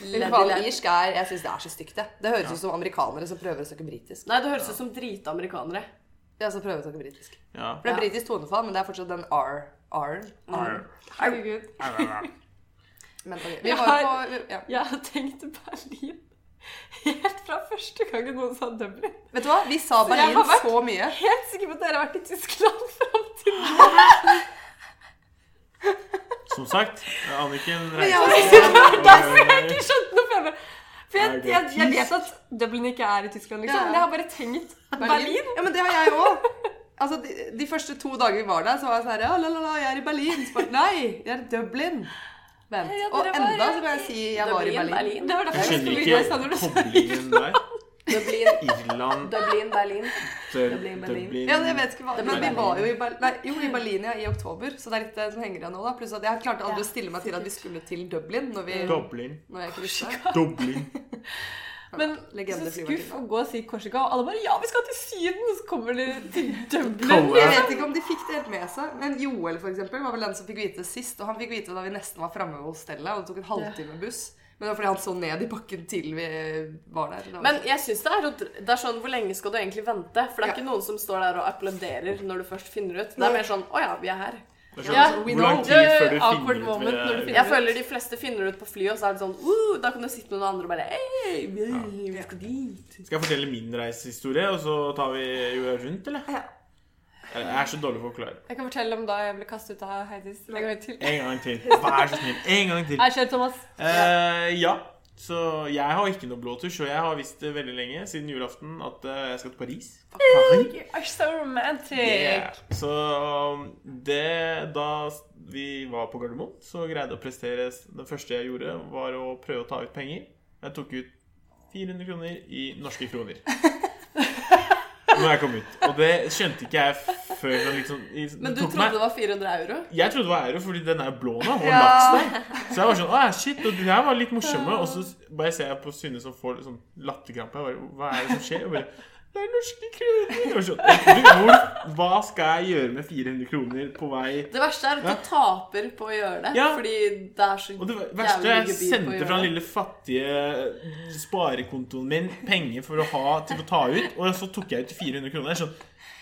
Speaker 2: Lady,
Speaker 4: Faen,
Speaker 2: lady.
Speaker 4: irsk er Jeg syns det er så stygt, det. Det høres ut som amerikanere som prøver å snakke britisk.
Speaker 2: Nei, det høres ut som drita amerikanere.
Speaker 4: Ja, som prøver å snakke britisk.
Speaker 1: Ja.
Speaker 4: For det er
Speaker 2: Ja.
Speaker 4: britisk tonefall, men det er fortsatt den R. R.
Speaker 1: Arr,
Speaker 5: Herregud.
Speaker 1: arr, arr, arr.
Speaker 4: Men ok, vi var på ja.
Speaker 5: Jeg har tenkt Berlin helt fra første gang noen sa Dublin.
Speaker 4: Vet du hva? Vi sa
Speaker 5: Så jeg
Speaker 4: Berlin
Speaker 5: har vært-
Speaker 4: så mye.
Speaker 5: Helt sikker på at dere har vært i Tyskland fram til
Speaker 1: Som sagt, Anniken
Speaker 4: Men jeg
Speaker 1: reiser
Speaker 4: har også-
Speaker 1: og-
Speaker 5: Skjønte noe for meg. For jeg,
Speaker 1: Er det
Speaker 5: jeg, jeg vet at Dublin ikke er i Tyskland, liksom,
Speaker 4: Ja.
Speaker 5: men jeg har bare tenkt Berlin.
Speaker 4: Berlin? Ja, men det har jeg òg. Altså, de, de første to dager vi var der, så var jeg sånn her ja, la, la, la, jeg er i Berlin. Så bare, nei, jeg er i Dublin. Vent.
Speaker 3: Ja, dere
Speaker 4: Og
Speaker 3: var
Speaker 4: enda
Speaker 3: i-
Speaker 4: så kan jeg si jeg var i
Speaker 2: Dublin,
Speaker 4: Berlin.
Speaker 2: Berlin.
Speaker 5: Det var derfor
Speaker 1: Jeg
Speaker 5: jeg
Speaker 1: skjønner
Speaker 5: skulle begynne i stedet
Speaker 1: ikke koblingen der.
Speaker 2: Dublin,
Speaker 1: Irland,
Speaker 2: Dublin, Berlin.
Speaker 1: Dublin,
Speaker 2: Berlin.
Speaker 1: Dublin
Speaker 4: Ja, men jeg vet ikke hva,
Speaker 2: Det
Speaker 4: men
Speaker 2: ble
Speaker 4: vi
Speaker 2: Berlin.
Speaker 4: var jo i, Ber nei, jo, i Berlin ja, i oktober, så det er litt det som henger igjen nå. da. Pluss at jeg klarte aldri å stille meg til at vi skulle til Dublin når, vi,
Speaker 1: Dublin.
Speaker 4: når jeg kryssa.
Speaker 1: Dublin.
Speaker 3: Men
Speaker 4: Legende
Speaker 3: så skuff
Speaker 4: flyvertinne.
Speaker 3: å gå og si Korsika, og alle bare 'ja, vi skal til Syden', og så kommer de til Dublin.
Speaker 4: Jeg
Speaker 1: Kalle
Speaker 4: vet ikke om de fikk det helt med seg, men Joel for eksempel, var vel den som fikk vite det sist. Og han fikk vite det da vi nesten var framme ved hostellet, og det tok en halvtime buss. Men det var fordi han så ned i bakken til vi eh, var der. Det var-
Speaker 2: Men jeg synes det er, å- det er sånn Hvor lenge skal du egentlig vente? For det er
Speaker 4: Ja.
Speaker 2: ikke noen som står der og applauderer når du først finner ut. Det
Speaker 4: Nei.
Speaker 2: er mer sånn Å ja, vi er her.
Speaker 1: Det er sånn,
Speaker 2: Ja,
Speaker 1: Hvor lang
Speaker 3: Ja,
Speaker 1: tid
Speaker 3: ja,
Speaker 1: før du
Speaker 3: awkward
Speaker 1: finner ut
Speaker 3: moment når du
Speaker 1: ved-
Speaker 3: finner
Speaker 2: Jeg føler de fleste finner ut på flyet, og så er det sånn uh, Da kan du sitte med noen andre og bare Hei, vi vi skal dit.
Speaker 1: Skal jeg fortelle min reisehistorie, og så tar vi jorda rundt, eller?
Speaker 4: Ja.
Speaker 1: Jeg er så dårlig for å forklare.
Speaker 3: Jeg kan fortelle om da jeg ble kastet ut av Heidis en gang til.
Speaker 1: En gang til. Vær så snill. En gang til.
Speaker 3: Nei, kjør, Thomas.
Speaker 1: Eh, ja. Så jeg har ikke noe blåtusj, og jeg har visst det veldig lenge, siden julaften, at eh, jeg skal til Paris. Paris?
Speaker 3: You are so romantic.
Speaker 1: Yeah. Så um, det Da vi var på Gardermoen, så greide jeg å prestere Det første jeg gjorde, var å prøve å ta ut penger. Jeg tok ut 400 kroner i norske
Speaker 2: *laughs*
Speaker 1: kroner. Når jeg kom ut. Og det skjønte ikke jeg før det liksom, i- det
Speaker 2: Men du
Speaker 1: tok meg-
Speaker 2: trodde det var 400 euro?
Speaker 1: jeg trodde det var euro, fordi den er blå nå. Og
Speaker 4: Ja.
Speaker 1: laks der. Så jeg var sånn Å, shit. Og de her var litt morsomme. Og så bare ser jeg på Synne som får sånn latterkrampe. Jeg bare, Hva er det som skjer? Og bare Det er norske kroner. Og sånn, «Du, hvor, hva skal jeg gjøre med 400 kroner på vei
Speaker 2: Det verste er at du taper på å gjøre det,
Speaker 1: Ja.
Speaker 2: fordi det er så
Speaker 1: Og det
Speaker 2: jævlig
Speaker 1: verste jeg
Speaker 2: gebyr på å
Speaker 1: sendte
Speaker 2: gjøre
Speaker 1: fra den
Speaker 2: det.
Speaker 1: lille fattige eh, sparekontoen min penger for å ha til å ta ut, og så tok jeg ut 400 kroner. Jeg er sånn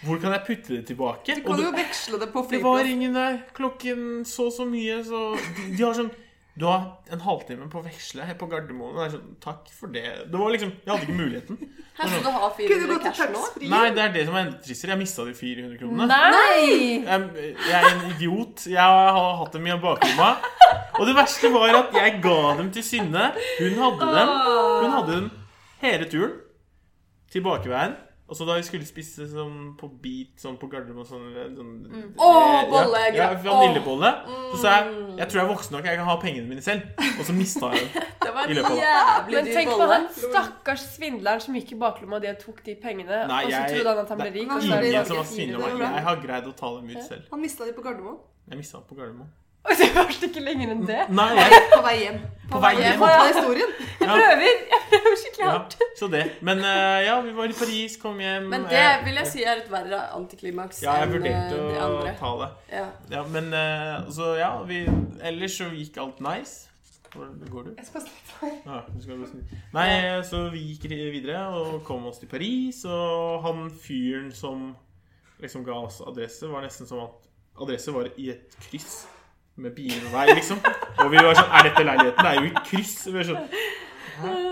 Speaker 1: Hvor kan jeg putte det tilbake?
Speaker 4: Du
Speaker 1: Og
Speaker 4: kan
Speaker 1: det-
Speaker 4: jo veksle det på
Speaker 1: Det var
Speaker 4: flyplass.
Speaker 1: ingen der. Klokken så så mye, så De, de har sånn Du har en halvtime på å veksle her på Gardermoen. Og det er sånn Takk for det. Det var liksom Jeg hadde ikke muligheten.
Speaker 2: Her skal du ha
Speaker 4: Kunne du
Speaker 2: 400
Speaker 4: gått til
Speaker 2: cash nå?
Speaker 4: taxfree?
Speaker 1: Nei, det er det som er enda tristere. Jeg mista de 400 kronene.
Speaker 3: Nei!
Speaker 1: Jeg, jeg er en idiot. Jeg har hatt dem i baklomma. Og det verste var at jeg ga dem til Synne. Hun hadde dem. Hun hadde dem hele turen. Tilbakeveien. Og så da vi skulle spise sånn på bit sånn på Gardermoen sånn, sånn
Speaker 2: Åh,
Speaker 1: eh,
Speaker 2: bolle,
Speaker 1: ja, ja,
Speaker 2: greit.
Speaker 1: Vaniljebolle. Så sa jeg jeg tror jeg er voksen nok, jeg kan ha pengene mine selv. Og så mista jeg
Speaker 3: *laughs*
Speaker 1: dem.
Speaker 2: Det var
Speaker 1: I
Speaker 2: en
Speaker 1: løpet av-
Speaker 2: jævlig
Speaker 3: Men
Speaker 2: dyr
Speaker 3: tenk på
Speaker 2: bolle.
Speaker 3: han stakkars svindleren som gikk i baklomma og de og tok de pengene.
Speaker 1: Nei,
Speaker 3: og så
Speaker 1: jeg-
Speaker 3: trodde han at han ble
Speaker 1: det
Speaker 3: rik.
Speaker 4: er
Speaker 3: og så er det sånn,
Speaker 1: Ingen
Speaker 3: bare-
Speaker 1: som har svindla meg. Jeg har greid å ta dem ut selv.
Speaker 4: Han mista de på Gardermoen.
Speaker 1: Jeg mista dem på Gardermoen.
Speaker 3: Og det var ikke lenger enn det.
Speaker 1: Nei, jeg,
Speaker 4: På vei hjem.
Speaker 1: på vei
Speaker 4: Jeg
Speaker 1: hjem.
Speaker 4: må ta historien.
Speaker 3: Jeg
Speaker 1: Ja.
Speaker 3: prøver! Jeg prøver skikkelig
Speaker 1: Ja,
Speaker 3: hardt.
Speaker 1: så det. Men eh, ja, vi var i Paris, kom hjem.
Speaker 2: Men det
Speaker 1: eh,
Speaker 2: vil jeg si er et verre antiklimaks
Speaker 1: Ja, jeg
Speaker 2: enn eh,
Speaker 1: vurderte
Speaker 2: det
Speaker 1: å
Speaker 2: andre.
Speaker 1: ta det.
Speaker 2: Ja.
Speaker 1: Ja, men eh, Så ja, vi Ellers så gikk alt nice. Hvor går du?
Speaker 4: Jeg skal snakke om-
Speaker 1: Ja, du skal gå snill. Nei, eh, så vi gikk ri- videre og kom oss til Paris, og han fyren som liksom ga oss adresse, var nesten som at adresse var i et kryss med bilvei, liksom. Og vi var sånn Er dette leiligheten? Det er jo et kryss. Vi var sånn,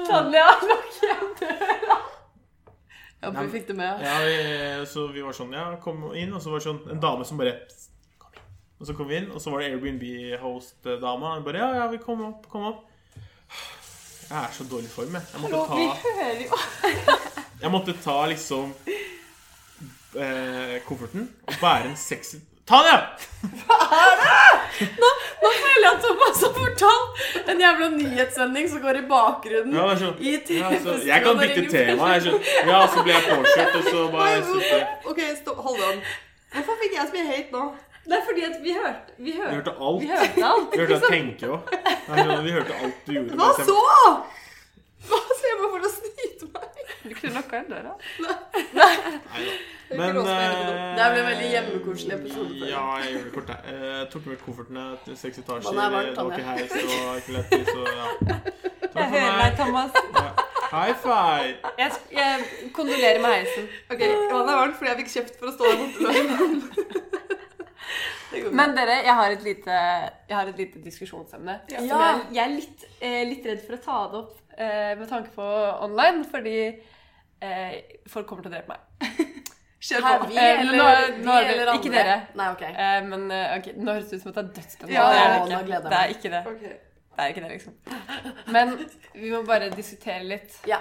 Speaker 3: Tanja, nok
Speaker 2: Jeg håper
Speaker 1: Nei,
Speaker 2: vi fikk det med.
Speaker 1: ja, vi, så vi var sånn, ja, kom inn, og så var det sånn en dame som bare "Psst, kom inn." Og så kom vi inn, og så var det Airbnb-host-dama. Og bare ja, ja, vi kom opp, kom opp. Jeg er så dårlig i form, jeg. Jeg måtte
Speaker 3: Vi
Speaker 1: ta
Speaker 3: hører jo
Speaker 1: *laughs* Jeg måtte ta liksom eh, kofferten og bære en seks... Tanja!
Speaker 2: Nå føler jeg at Thomas har fortalt en jævla nyhetssending som går i bakgrunnen.
Speaker 1: Ja, det er sånn.
Speaker 2: I
Speaker 1: Ja, så,
Speaker 2: *laughs* TV-sendingen,
Speaker 1: jeg kan
Speaker 2: og
Speaker 1: bytte
Speaker 2: ringer
Speaker 1: tema. Jeg skjønner. Ja, så ble jeg påkjørt, og så bare jeg
Speaker 4: Ok, stopp. Hold on. Hvorfor fikk jeg så mye hate nå?
Speaker 5: Det er fordi at vi hørte Vi hørte,
Speaker 1: hørte alt.
Speaker 5: vi hørte alt.
Speaker 1: Vi hørte deg tenke òg. Vi hørte alt du gjorde.
Speaker 4: Hva
Speaker 1: bare
Speaker 4: så? Hva så jeg bare for å snyte meg?
Speaker 3: Du kunne lukka igjen døra.
Speaker 4: Det er
Speaker 1: Men
Speaker 4: ikke lov til å gjøre det.
Speaker 1: eh,
Speaker 2: Det ble veldig hjemmekoselig episode, føler jeg.
Speaker 1: Ja, jeg gjorde det kort. jeg. Eh, Jeg tok med koffertene til seks etasjer.
Speaker 2: Vannet er varmt,
Speaker 1: det var ikke heis, det var ikke lett, så
Speaker 3: *laughs*
Speaker 1: ja. Takk
Speaker 3: Jeg
Speaker 1: for
Speaker 3: hører
Speaker 1: meg.
Speaker 3: deg, Thomas.
Speaker 1: Ja. High five!
Speaker 3: Jeg, jeg kondolerer med heisen.
Speaker 4: Ok, Vannet er varmt fordi jeg fikk kjeft for å stå der borte.
Speaker 2: Det går bra.
Speaker 3: Men dere, jeg har et lite, jeg har et lite diskusjonsemne. som
Speaker 2: Ja.
Speaker 3: Jeg, jeg er litt, eh, litt redd for å ta det opp eh, med tanke på online, fordi eh, folk kommer til å drepe meg. Kjør
Speaker 2: Her,
Speaker 3: på.
Speaker 2: vi
Speaker 3: Eh,
Speaker 2: eller,
Speaker 3: nå, nå er
Speaker 2: vi
Speaker 3: det,
Speaker 2: eller andre?
Speaker 3: Ikke dere.
Speaker 2: Nei, ok.
Speaker 3: Eh, men eh, ok, nå høres det ut som at det er dødsspennende.
Speaker 4: Ja,
Speaker 3: det, er
Speaker 2: nå
Speaker 3: det,
Speaker 2: gleder jeg
Speaker 3: ikke. det er ikke det.
Speaker 4: Ok.
Speaker 3: Det er ikke det, liksom. Men vi må bare diskutere litt.
Speaker 2: Ja.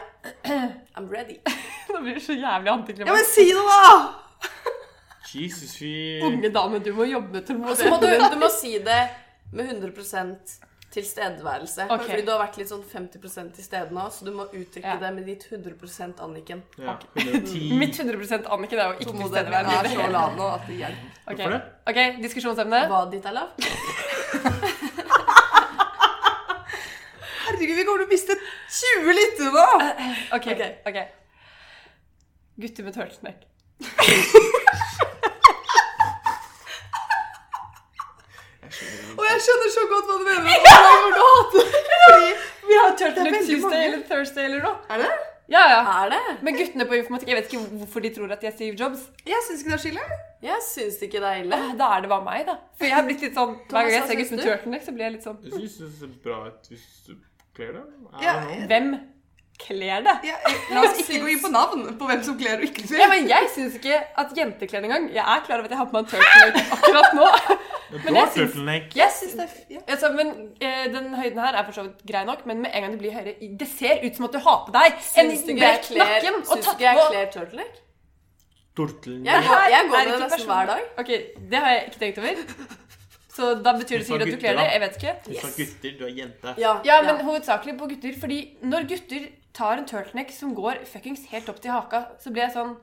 Speaker 2: I'm ready.
Speaker 3: Nå blir det så jævlig
Speaker 4: Ja, men
Speaker 3: antiklimaks.
Speaker 4: si det, da!
Speaker 1: Jesus, vi
Speaker 3: Unge dame, du må jobbe med
Speaker 2: Og *laughs* så må du,
Speaker 3: tålmodighet.
Speaker 2: du må si det med 100 tilstedeværelse.
Speaker 3: Ok.
Speaker 2: Fordi du har vært litt sånn 50 til stede nå, så du må uttrykke
Speaker 3: Ja.
Speaker 2: det med ditt 100 Anniken.
Speaker 1: ja, 110
Speaker 3: *laughs* Mitt 100 Annike, det er jo ikke tilstedeværende. i
Speaker 4: er
Speaker 3: det
Speaker 4: så
Speaker 3: hele
Speaker 4: lav nå at det hjelper.
Speaker 3: *laughs* Ok.
Speaker 1: Hvorfor det?
Speaker 3: Ok, diskusjonsemne.
Speaker 2: Hva ditt er lavt?
Speaker 4: Herregud, vi kommer til å miste 20 lyttere nå!
Speaker 3: Ok, ok. Gutter med turtleneck.
Speaker 4: Og jeg skjønner så godt hva du *laughs* mener. Og jeg kommer til å hate det. Fordi,
Speaker 3: Vi har
Speaker 4: Det er
Speaker 3: turtleneck
Speaker 4: veldig
Speaker 3: Tuesday
Speaker 4: mange.
Speaker 3: eller Thursday eller noe.
Speaker 4: er det?
Speaker 3: Ja, ja.
Speaker 2: Er det?
Speaker 3: Men guttene på informatikk, jeg vet ikke hvorfor de tror at de er Steve Jobs.
Speaker 4: Jeg syns ikke det er skille.
Speaker 2: Jeg syns ikke det er ille.
Speaker 3: Eh, Da er det bare meg, da. For jeg har blitt litt sånn Hver gang
Speaker 2: Thomas, hva
Speaker 3: jeg ser
Speaker 2: synes
Speaker 3: gutten med
Speaker 2: du?
Speaker 3: turtleneck, så blir jeg litt sånn
Speaker 1: Jeg syns det ser bra ut hvis du kler deg. I
Speaker 4: Ja,
Speaker 1: don't know.
Speaker 3: Hvem kler det?
Speaker 4: Ja, jeg, la oss ikke gå inn på navn på hvem som kler og ikke
Speaker 3: Ja,
Speaker 4: kler.
Speaker 3: men Jeg syns ikke at jentekler engang. Jeg er klar over at jeg har på meg en turtleneck akkurat nå.
Speaker 1: Du
Speaker 3: jeg
Speaker 1: har
Speaker 3: syns-
Speaker 1: turtleneck.
Speaker 3: Jeg synes
Speaker 4: det er- ja.
Speaker 3: Altså, men eh, Den høyden her er for så vidt grei nok, men med en gang du blir høyere i- Det ser ut som at du har på deg en
Speaker 2: Syns du ikke jeg
Speaker 3: brett
Speaker 2: kler,
Speaker 3: nakken og
Speaker 2: syns du
Speaker 3: tatt
Speaker 2: ikke jeg
Speaker 3: på
Speaker 2: kler turtleneck?
Speaker 1: Turtleneck.
Speaker 2: Jeg, går- jeg går
Speaker 3: Er
Speaker 2: med det
Speaker 3: ikke
Speaker 2: nesten hver dag.
Speaker 3: personlig. Ok, Det har jeg ikke tenkt over. Så da betyr det
Speaker 1: Du sa
Speaker 3: sikkert at du
Speaker 1: gutter,
Speaker 3: kler det.
Speaker 1: da.
Speaker 3: Jeg vet ikke.
Speaker 1: Du sa gutter, du er jente.
Speaker 2: Ja,
Speaker 3: Ja, men hovedsakelig på gutter. Fordi når gutter tar en turtleneck som går fuckings helt opp til haka, så blir jeg sånn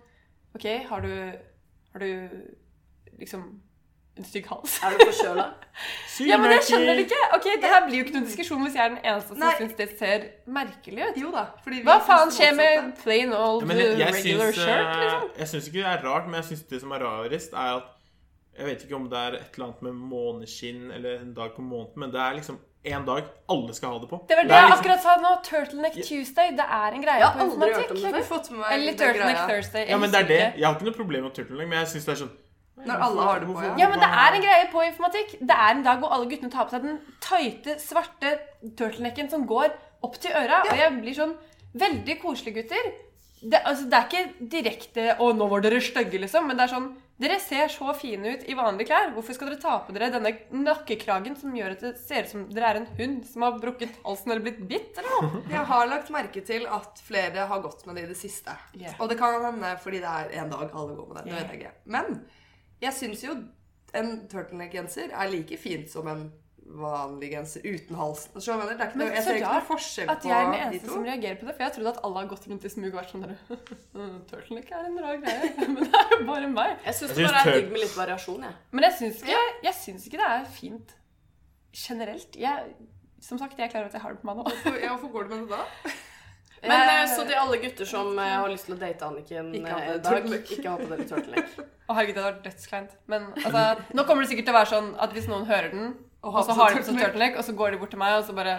Speaker 3: OK, har du Har du liksom en stygg hals?
Speaker 2: Er du forkjøla?
Speaker 1: Syv
Speaker 3: Ja, men jeg
Speaker 1: merker.
Speaker 3: skjønner det ikke! Ok, Det her blir jo ikke noen diskusjon hvis jeg er den eneste som
Speaker 4: Nei.
Speaker 3: syns det ser merkelig ut.
Speaker 4: Jo da. Fordi vi
Speaker 3: Hva
Speaker 4: syns
Speaker 3: faen
Speaker 4: det
Speaker 3: skjer med
Speaker 4: motsatte.
Speaker 3: plain old
Speaker 1: Ja,
Speaker 3: uh,
Speaker 1: men jeg, jeg
Speaker 3: regular
Speaker 1: syns,
Speaker 3: shirt,
Speaker 1: eh,
Speaker 3: liksom?
Speaker 1: Jeg syns ikke det er rart, men jeg syns det som er rarest, er at Jeg vet ikke om det er et eller annet med måneskinn eller en dag på måneden, men det er liksom én dag alle skal ha det på.
Speaker 3: Det var det,
Speaker 1: er
Speaker 3: jeg
Speaker 1: liksom-
Speaker 3: akkurat sa nå. Turtleneck Tuesday. Det er en greie
Speaker 2: Jeg har
Speaker 3: på
Speaker 2: aldri hørt om
Speaker 3: informatikk.
Speaker 2: det.
Speaker 4: Jeg har fått med meg
Speaker 3: Eller
Speaker 4: den
Speaker 3: Turtleneck
Speaker 4: greia.
Speaker 3: Thursday.
Speaker 1: Ja,
Speaker 3: jeg
Speaker 1: men det er
Speaker 3: husker
Speaker 1: det.
Speaker 3: ikke.
Speaker 1: Jeg har ikke noe problem med turtleneck, men jeg syns det er sånn
Speaker 4: Når alle har det på, ja.
Speaker 3: Ja, men det er en greie på informatikk. Det er en dag hvor alle guttene tar på seg den tighte, svarte turtlenecken som går opp til øra. Og jeg blir sånn Veldig koselige gutter. Det, altså, det er ikke direkte 'Å, nå var dere stygge', liksom. Men det er sånn Dere ser så fine ut i vanlige klær. Hvorfor skal dere ta på dere denne nakkekragen som gjør at det ser ut som dere er en hund som har brukket halsen eller blitt bitt, eller noe?
Speaker 4: Jeg har lagt merke til at flere har gått med det i det siste.
Speaker 3: Yeah.
Speaker 4: Og det kan hende fordi det er en dag alle går med det. Det vet jeg ikke. Men jeg syns jo en turtleneck-genser er like fint som en vanlig genser uten halsen. Så jeg mener, det er ikke
Speaker 3: Men
Speaker 4: noe, jeg
Speaker 3: så
Speaker 4: ser ikke
Speaker 3: rart
Speaker 4: noe forskjell
Speaker 3: At
Speaker 4: på
Speaker 3: jeg er den
Speaker 4: de
Speaker 3: eneste
Speaker 4: to.
Speaker 3: som reagerer på det, for jeg trodde at alle har gått rundt i smug og vært sånn der, *laughs* Turtleneck er en rar greie, *laughs* men det er jo bare meg.
Speaker 2: Jeg syns
Speaker 1: Jeg syns
Speaker 2: det bare er
Speaker 1: tur-
Speaker 2: digg med litt variasjon, jeg.
Speaker 3: Men jeg syns ikke, jeg syns ikke det er fint generelt. Jeg, som sagt, jeg er klar over at jeg har det på meg nå.
Speaker 4: Hvorfor, ja, hvorfor går du med det da?
Speaker 2: Men
Speaker 3: Eh,
Speaker 2: eh, så til alle gutter som eh, har lyst til å date Anniken
Speaker 4: Ikke ha
Speaker 2: eh,
Speaker 4: på dere
Speaker 2: dag,
Speaker 4: turtleneck.
Speaker 2: ikke ha på dere turtleneck. *laughs*
Speaker 3: Å herregud, det hadde vært dødskleint. *laughs* Men altså, nå kommer det sikkert til å være sånn at hvis noen hører den,
Speaker 4: Og
Speaker 3: og
Speaker 4: har
Speaker 3: så
Speaker 4: på seg
Speaker 3: har de på seg
Speaker 4: turtleneck.
Speaker 3: turtleneck, og så går de bort til meg og så bare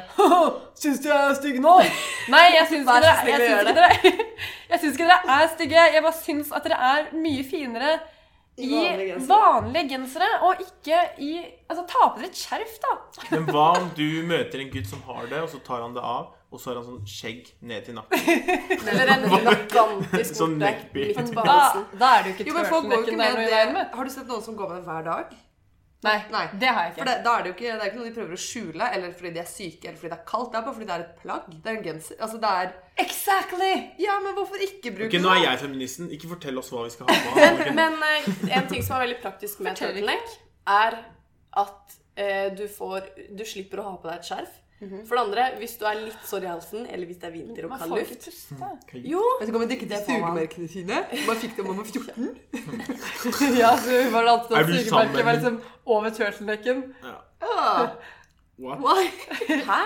Speaker 3: Syns du jeg er stygg nå? *laughs* Nei, jeg syns ikke
Speaker 2: Vær så
Speaker 3: dere
Speaker 2: snill å
Speaker 3: jeg syns
Speaker 2: gjøre
Speaker 3: ikke dere- *laughs* Jeg syns ikke dere er stygge. Jeg bare syns at dere er mye finere i
Speaker 4: vanlige gensere.
Speaker 3: vanlige gensere, og ikke i Altså, ta på dere et skjerf, da.
Speaker 1: Men hva om du møter en gutt som har det, og så tar han det av, og så har han sånn skjegg ned til nakken?
Speaker 2: Eller en gigantisk
Speaker 1: Sånn
Speaker 2: borte
Speaker 1: neckbeard.
Speaker 2: midt *laughs* på
Speaker 3: Da,
Speaker 2: halsen.
Speaker 3: da er det jo ikke
Speaker 4: Jo, men folk går jo
Speaker 3: turtlenecken det er noe
Speaker 4: ikke med
Speaker 3: i
Speaker 4: det.
Speaker 3: veien med.
Speaker 4: Har du sett noen som går med det hver dag?
Speaker 3: Nei,
Speaker 4: Nei.
Speaker 3: det har jeg ikke.
Speaker 4: For det, da er det jo ikke, det er ikke noe de prøver å skjule, eller fordi de er syke, eller fordi det er kaldt. Det er bare fordi det er et plagg. Det er en genser. Altså, det er
Speaker 3: Exactly!
Speaker 4: Ja, men hvorfor ikke bruke
Speaker 1: Ok, Nå
Speaker 4: det?
Speaker 1: er jeg feministen. Ikke fortell oss hva vi skal ha på. Anniken.
Speaker 2: Men eh, en ting som er veldig praktisk med
Speaker 3: Fortell ikke.
Speaker 2: turtleneck, er at eh, du får Du slipper å ha på deg et skjerf. For det andre, hvis du er litt sår i halsen, eller hvis det er vinter og
Speaker 3: Man
Speaker 2: kald
Speaker 3: får ikke
Speaker 2: luft
Speaker 3: puste. *laughs*
Speaker 2: Jo,
Speaker 4: Vet du hva, men dykket
Speaker 2: Det
Speaker 4: til
Speaker 2: får man.
Speaker 4: sugemerkene sine. Man fikk det om man var 14.
Speaker 3: ja, så var det alltid
Speaker 1: Er
Speaker 3: at
Speaker 1: du
Speaker 3: sugemerket
Speaker 1: sammen?
Speaker 3: var liksom over turtlenecken.
Speaker 4: Ah,
Speaker 1: What?
Speaker 4: why?
Speaker 2: hæ?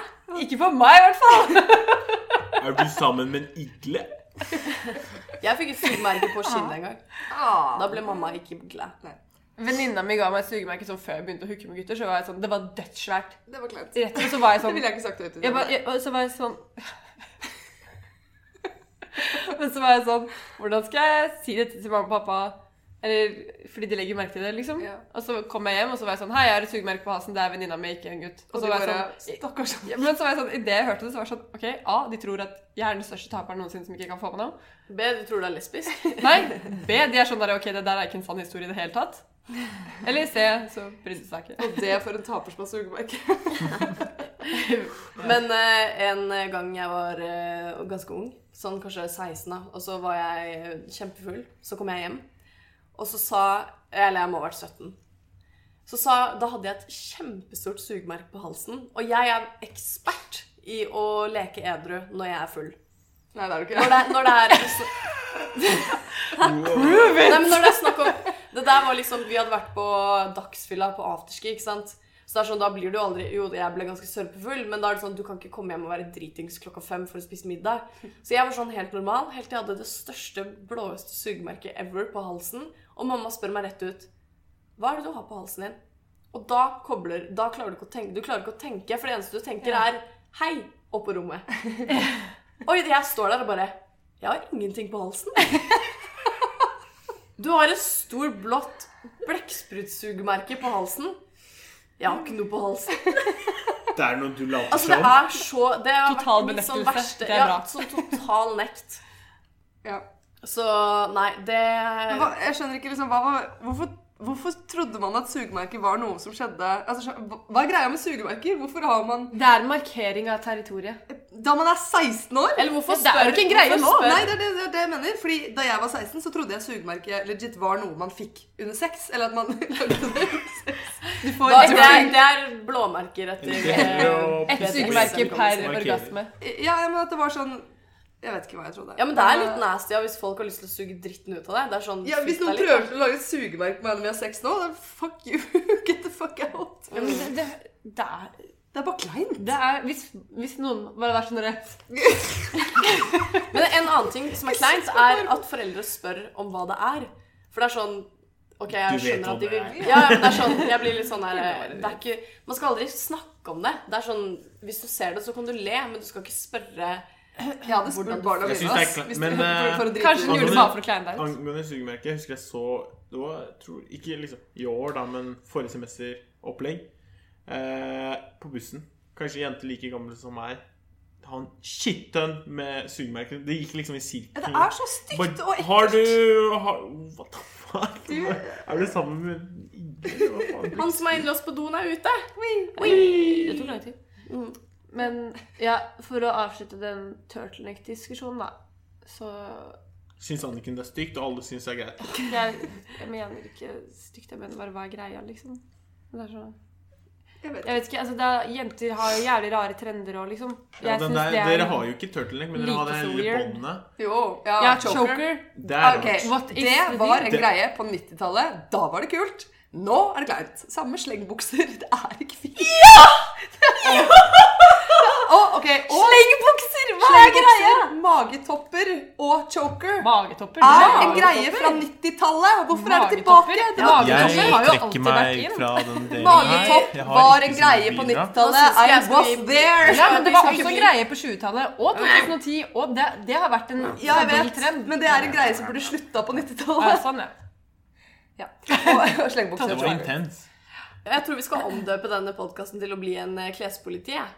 Speaker 3: Ikke på meg, i hvert fall!
Speaker 1: Er du sammen med en igle?
Speaker 2: Jeg fikk et sugemerke på skinnet en gang.
Speaker 4: Ah.
Speaker 2: Da ble mamma ikke glad.
Speaker 3: Venninna mi ga meg et sugemerke sånn før jeg begynte å hooke med gutter. Så var jeg sånn, Det var dødssvært.
Speaker 4: Det var kleint.
Speaker 3: Rett og så var jeg
Speaker 4: *laughs* Det
Speaker 3: sånn
Speaker 4: ville jeg ikke sagt høyt.
Speaker 3: jeg bare, jeg, og Så var jeg sånn *laughs* Men så var jeg sånn Hvordan skal jeg si dette til mamma og pappa? Eller fordi de legger merke til det, liksom.
Speaker 4: Ja.
Speaker 3: Og så kom jeg hjem, og så var jeg sånn Hei, jeg har et sugemerke på halsen. Det er venninna mi, ikke en gutt. Og så
Speaker 4: Og du
Speaker 3: var jeg
Speaker 4: bare
Speaker 3: sånn
Speaker 4: Stakkars.
Speaker 3: ja, men så var jeg sånn, Idet jeg hørte det, så var jeg sånn OK, A. De tror at jeg er den største taperen noensinne som ikke kan få med noe.
Speaker 2: B, du tror du er lesbisk?
Speaker 3: Nei. B. De er sånn der OK, det der er ikke en sann historie i det hele tatt. Eller C. Så brydde de seg ikke.
Speaker 4: Og det for en tapers på sugemerke.
Speaker 2: Men eh, en gang jeg var eh, ganske ung, sånn kanskje 16 da, og så var jeg eh, kjempefull, så kom jeg hjem, og så sa, eller jeg må ha vært 17, så sa, da hadde jeg et kjempestort sugmerk på halsen, og jeg er ekspert i å leke edru når jeg er full.
Speaker 4: Nei, det er du ikke.
Speaker 2: Når det, når det er... Så, Nei, men når det er snakk om Det der var liksom Vi hadde vært på dagsfylla på afterski, ikke sant? Så det er sånn, da blir du aldri Jo, jeg ble ganske sørpefull, men da er det sånn du kan ikke komme hjem og være dritings klokka fem for å spise middag. Så jeg var sånn helt normal, helt til jeg hadde det største, blåeste sugemerket ever på halsen. Og mamma spør meg rett ut Hva er det du har på halsen din? Og da kobler Da klarer du ikke å tenke, du klarer ikke å tenke for det eneste du tenker, er Hei! Opp på rommet. Oi, jeg står der og bare Jeg har ingenting på halsen. Du har et stort blått blekksprutsugmerke på halsen. Jeg har ikke noe på halsen.
Speaker 1: Det er noe du later
Speaker 2: Altså, det
Speaker 1: som.
Speaker 2: er så Det har
Speaker 3: Total
Speaker 2: vært mitt sånn
Speaker 3: benektelse.
Speaker 2: verste
Speaker 3: Det er
Speaker 2: Ja,
Speaker 3: bra.
Speaker 2: sånn total nekt.
Speaker 4: Ja.
Speaker 2: Så nei, det
Speaker 4: Men Hva, jeg skjønner ikke liksom, hva var, hvorfor, hvorfor trodde man at sugemerker var noe som skjedde altså, skjø- hva- Hva er greia med sugemerker? Hvorfor har man
Speaker 3: Det er markering av territoriet.
Speaker 4: Da man er 16 år?
Speaker 2: Eller hvorfor
Speaker 3: Det er jo
Speaker 2: spør
Speaker 3: ikke en greie
Speaker 2: hvorfor
Speaker 3: nå.
Speaker 2: spør-
Speaker 4: Nei, det er det, det er det jeg mener. Fordi Da jeg var 16, så trodde jeg sugemerke legit var noe man fikk under sex. Eller at man *laughs* lagde det.
Speaker 2: Da,
Speaker 3: Du får
Speaker 2: det, er, det er blåmerker etter
Speaker 1: Det heter jo-
Speaker 3: ett eh, sykemerke per
Speaker 1: Markering.
Speaker 3: orgasme.
Speaker 4: Ja, men at det var sånn Jeg vet ikke hva jeg trodde.
Speaker 2: Ja, men det er litt nasty ja, hvis folk har lyst til å suge dritten ut av deg. Det er sånn
Speaker 4: Ja, Hvis
Speaker 2: flytt
Speaker 4: noen
Speaker 2: deg litt,
Speaker 4: prøver å lage et sugemerke på meg når vi har sex nå, da fuck you. *laughs* Get the fuck out.
Speaker 3: Ja, men det, det, det er
Speaker 4: Det er bare kleint.
Speaker 3: Det er, hvis, hvis noen bare vært sånn rett
Speaker 2: Men en annen ting som er kleint, er at foreldre spør om hva det er. For det er sånn Ok, jeg
Speaker 1: Du vet
Speaker 2: skjønner
Speaker 1: hva
Speaker 2: at de
Speaker 1: det
Speaker 2: vil
Speaker 1: er.
Speaker 2: Ja, men det er sånn Jeg blir litt
Speaker 4: *laughs*
Speaker 2: sånn her eh, Det er ikke Man skal aldri snakke om det. Det er sånn Hvis du ser det, så kan du le, men du skal ikke spørre
Speaker 4: Jeg hadde spurt
Speaker 2: Hvordan-
Speaker 4: barna
Speaker 1: Jeg
Speaker 4: mine
Speaker 1: synes det er
Speaker 4: ass,
Speaker 1: kle-
Speaker 4: hvis
Speaker 1: men, eh,
Speaker 4: de- *laughs* for, for å drite
Speaker 3: Kanskje
Speaker 4: ut.
Speaker 3: hun gjorde det bare for å kleine deg ut.
Speaker 1: Angående sugemerke, jeg husker jeg så Det var jeg tror, ikke liksom i år, da, men forrige semester opplegg. Eh, på bussen. Kanskje en jente like gammel som meg. Han skittønn med sugemerke. Det gikk liksom i
Speaker 4: Det
Speaker 1: sirkel.
Speaker 4: er så stygt og
Speaker 1: Bare,
Speaker 4: ekkelt.
Speaker 1: har du har, What the fuck?
Speaker 4: Du-
Speaker 1: Er du sammen med Hva faen?
Speaker 2: Han som er innlåst på doen, er ute.
Speaker 3: Det tok lang tid. Men ja, for å avslutte den turtleneck-diskusjonen, da, så
Speaker 1: Syns Anniken det er stygt, og alle syns det er greit.
Speaker 3: jeg, jeg mener ikke stygt, jeg mener bare hva er greia, liksom. Det er så,
Speaker 4: Jeg vet
Speaker 3: jeg vet ikke, altså det er, Jenter har jo jævlig rare trender òg, liksom.
Speaker 1: Ja,
Speaker 3: Jeg
Speaker 1: den
Speaker 3: synes
Speaker 1: der,
Speaker 3: det er-
Speaker 1: dere har jo ikke turtleneck, men dere har det
Speaker 3: like så
Speaker 1: hele
Speaker 3: weird.
Speaker 1: båndet.
Speaker 4: Jo. Ja,
Speaker 3: ja,
Speaker 4: choker.
Speaker 3: choker.
Speaker 1: Det er
Speaker 4: Ok,
Speaker 1: rart.
Speaker 3: What is
Speaker 4: Det
Speaker 3: the
Speaker 4: var en
Speaker 1: deal?
Speaker 4: greie på 90-tallet. Da var det kult. Nå er det kleint. Samme slengbukser. *laughs* Det er ikke fint. Ja! *laughs* Og, ok, og
Speaker 3: Slengbukser! Hva er greia?
Speaker 4: slengbukser, magetopper og choker
Speaker 3: Magetopper.
Speaker 4: er en
Speaker 3: magetopper.
Speaker 4: greie fra 90-tallet. Hvorfor er det
Speaker 3: Magetopper.
Speaker 4: tilbake? Det
Speaker 3: Ja,
Speaker 4: var
Speaker 3: Magetopper har jo alltid vært inn.
Speaker 1: den delen
Speaker 4: Magetopp
Speaker 1: Jeg har
Speaker 4: var
Speaker 1: ikke
Speaker 4: en
Speaker 1: så mye
Speaker 4: greie på
Speaker 1: bidrag.
Speaker 4: 90-tallet.
Speaker 2: Nå
Speaker 4: I
Speaker 2: synes jeg
Speaker 4: was
Speaker 2: jeg skal bli-
Speaker 4: there.
Speaker 3: Ja, men det var
Speaker 2: Vi
Speaker 3: også
Speaker 2: snakker
Speaker 3: en
Speaker 2: vi-
Speaker 3: greie på 20-tallet og 2010, og det, det har vært en
Speaker 4: Ja, jeg
Speaker 3: stabil
Speaker 4: vet,
Speaker 3: trend.
Speaker 4: men det er en greie som burde slutta på
Speaker 3: Ja,
Speaker 4: 90-tallet.
Speaker 3: sånn, ja.
Speaker 4: Ja. Og, og slengbukser.
Speaker 1: Det var intens.
Speaker 2: Jeg tror vi skal omdøpe denne podkasten til å bli en eh, klespoliti. jeg.